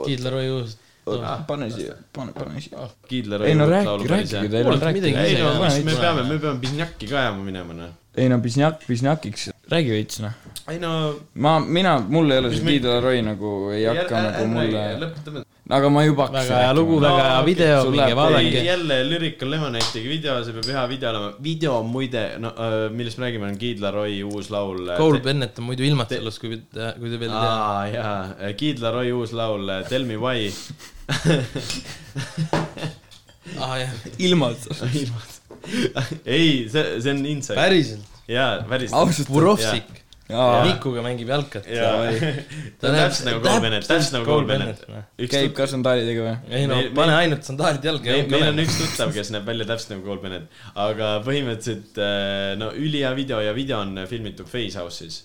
Speaker 5: Kiidla Rõiuust .
Speaker 3: Ah, pane siia , pane , pane siia .
Speaker 1: Kiidla
Speaker 3: ei no
Speaker 1: rõivab laulu
Speaker 3: rääkige ,
Speaker 1: päris hea.
Speaker 3: rääkige , teil on
Speaker 5: Kuulake midagi
Speaker 1: ei
Speaker 5: ise
Speaker 1: no
Speaker 5: ka.
Speaker 1: mis me
Speaker 5: Ei,
Speaker 1: peame , me peame Bisnjakki ka ajama minema noh .
Speaker 3: ei no pisnjak , pisnjakiks , räägi veits noh .
Speaker 1: ei no .
Speaker 3: ma , mina , mul ei ole see Tiidla Roy nagu ei hakka nagu mulle ,
Speaker 1: lõpetame .
Speaker 3: aga ma juba hakkasin
Speaker 5: väga hea lugu ,
Speaker 1: No,
Speaker 5: väga hea
Speaker 1: okei,
Speaker 5: video ,
Speaker 3: sul
Speaker 5: minge
Speaker 3: läheb-
Speaker 5: vaadake .
Speaker 1: jälle Lyrical Lemonade'iga video , see peab hea video olema . video on muide , no öö, millest me räägime , on Kiidla Roy uus laul .
Speaker 5: Cole Bennett on muidu ilmatselus , kui , kui te veel ei tea .
Speaker 1: Äh, aa jaa , Kiidla Roy uus laul äh, Tell me why . (laughs)
Speaker 5: aa jah ,
Speaker 3: ilmalt .
Speaker 1: ei , see , see on inside .
Speaker 5: päriselt .
Speaker 1: jaa , päris .
Speaker 3: ausalt .
Speaker 5: Vurovsik .
Speaker 3: jaa ,
Speaker 5: Mikuga mängib jalkat .
Speaker 1: jaa , ta on (laughs) täpselt nagu Cole Bennett , täpselt nagu Cole Bennett .
Speaker 3: käib ka sandaalidega või ?
Speaker 5: noh. ei no
Speaker 1: Meil- ,
Speaker 5: pane
Speaker 1: meil-
Speaker 5: ainult sandaalid jalga
Speaker 1: meil,
Speaker 5: ja
Speaker 1: meil on . üks tuttav , kes näeb välja täpselt nagu Cole Bennett , aga põhimõtteliselt äh, no ülihea video ja video on filmitud Facehouse'is .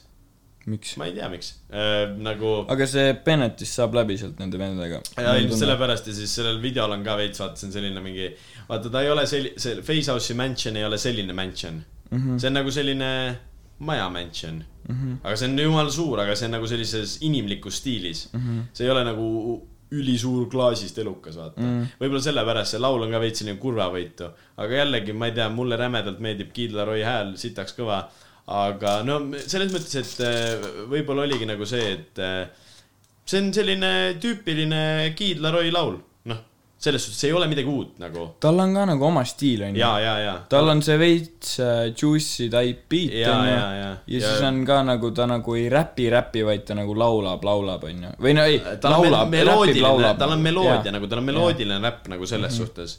Speaker 3: miks ?
Speaker 1: ma ei tea , miks äh, , nagu
Speaker 3: aga see Bennettist saab läbi sealt nende vendadega .
Speaker 1: ja ilmselt . sellepärast ja siis sellel videol on ka veits vaata , see on selline mingi , vaata ta ei ole sel- , see Facehouse'i mansion ei ole selline mansion mm . see on nagu selline maja mansion mm . -hmm. aga see on jumala suur , aga see on nagu sellises inimlikus stiilis mm . -hmm. see ei ole nagu ülisuur klaasist elukas , vaata mm -hmm. . võib-olla sellepärast see laul on ka veits selline kurvavõitu . aga jällegi , ma ei tea , mulle rämedalt meeldib Kidlaroi hääl , sitaks kõva . aga no selles mõttes , et äh, võib-olla oligi nagu see , et äh, see on selline tüüpiline Kidlaroi laul . noh , selles suhtes ei ole midagi uut nagu .
Speaker 3: tal on ka nagu oma stiil , onju .
Speaker 1: ja , ja , ja
Speaker 3: tal on see veits äh, juicy type beat ,
Speaker 1: Jaa, jaa, jaa.
Speaker 3: onju . ja siis
Speaker 1: Ja-
Speaker 3: on ka nagu ta nagu ei räpi , räpi , vaid ta nagu laulab , laulab , onju . või no ei ,
Speaker 1: Äh, tal on
Speaker 3: laulab ,
Speaker 1: mel-
Speaker 3: räpib ,
Speaker 1: meloodiline ,
Speaker 3: laulab . Mhm.
Speaker 1: tal on meloodia . nagu , tal on meloodiline räpp nagu selles suhtes .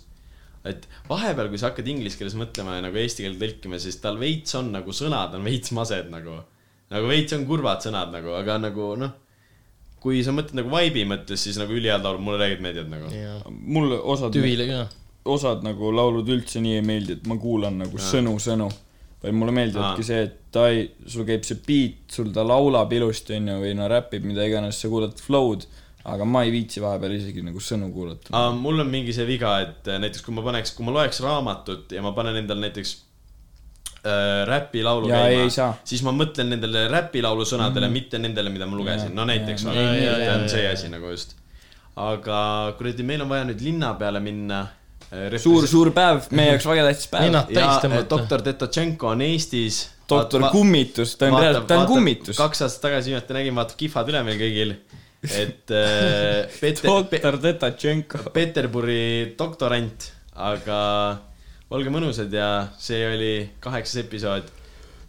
Speaker 1: et vahepeal , kui sa hakkad inglise keeles mõtlema ja nagu eesti keelde tõlkima , siis tal veits on nagu sõnad on veits mased nagu . nagu veits on kurvad sõnad nagu , aga nagu noh , kui sa mõtled nagu vaibi mõttes , siis nagu ülihea laul , mulle tegelikult meeldivad nagu .
Speaker 3: mulle osad ,
Speaker 5: tüvile ka .
Speaker 3: osad nagu laulud üldse nii ei meeldi , et ma kuulan nagu sõnu , sõnu . vaid mulle meeldivadki see , et ta ei , sul käib see beat , sul ta laulab ilusti , onju , või no räpib , mida iganes , sa kuulad flow'd , aga ma ei viitsi vahepeal isegi nagu sõnu kuulata .
Speaker 1: aga mul on mingi see viga , et äh, näiteks kui ma paneks , kui ma loeks raamatut ja ma panen endale näiteks äh, räpilaulu
Speaker 3: Jaa, ei, ei
Speaker 1: käima
Speaker 3: saa. ,
Speaker 1: siis ma mõtlen nendele räpilaulu sõnadele mm , -hmm. mitte nendele , mida ma lugesin , no näiteks
Speaker 3: jaa,
Speaker 1: on,
Speaker 5: jaa, jaa,
Speaker 1: see
Speaker 5: jaa,
Speaker 1: on see
Speaker 5: jaa.
Speaker 1: asi nagu just . aga kuradi , meil on vaja nüüd linna peale minna .
Speaker 3: suur-suur päev , meie jaoks väga tähtis päev
Speaker 5: Ninad
Speaker 1: ja
Speaker 5: täis
Speaker 1: äh,
Speaker 5: tõmmata .
Speaker 1: doktor Tetotšenko on Eestis .
Speaker 3: doktor Kummitus , ta on
Speaker 1: Vaatab-
Speaker 3: reaalselt , ta on
Speaker 1: vaatab-
Speaker 3: kummitus .
Speaker 1: kaks aastat tagasi viimati nägin , vaatab kihvad üle meil kõigil , et
Speaker 3: (laughs)
Speaker 1: äh, Peeter ,
Speaker 3: doktor Tetatšenko .
Speaker 1: Peterburi doktorant , aga olge mõnusad ja see oli kaheksas episood .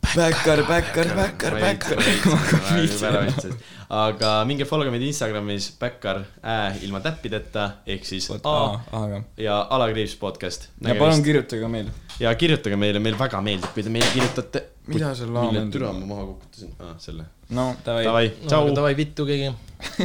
Speaker 3: Bäkkar , Bäkkar , Bäkkar , Bäkkar .
Speaker 1: aga minge follow ge meid Instagramis bäkkar ä ilma täppideta ehk siis a
Speaker 3: aga .
Speaker 1: ja alakriips podcast .
Speaker 3: ja palun kirjutage meile .
Speaker 1: ja kirjutage meile , meile väga meeldib , kui te meile kirjutate .
Speaker 3: Mida seal laamendab?
Speaker 1: mille türa ma maha kukutasin ah, ? selle .
Speaker 3: no davai .
Speaker 1: Davai , tšau .
Speaker 5: Davai vittu keegi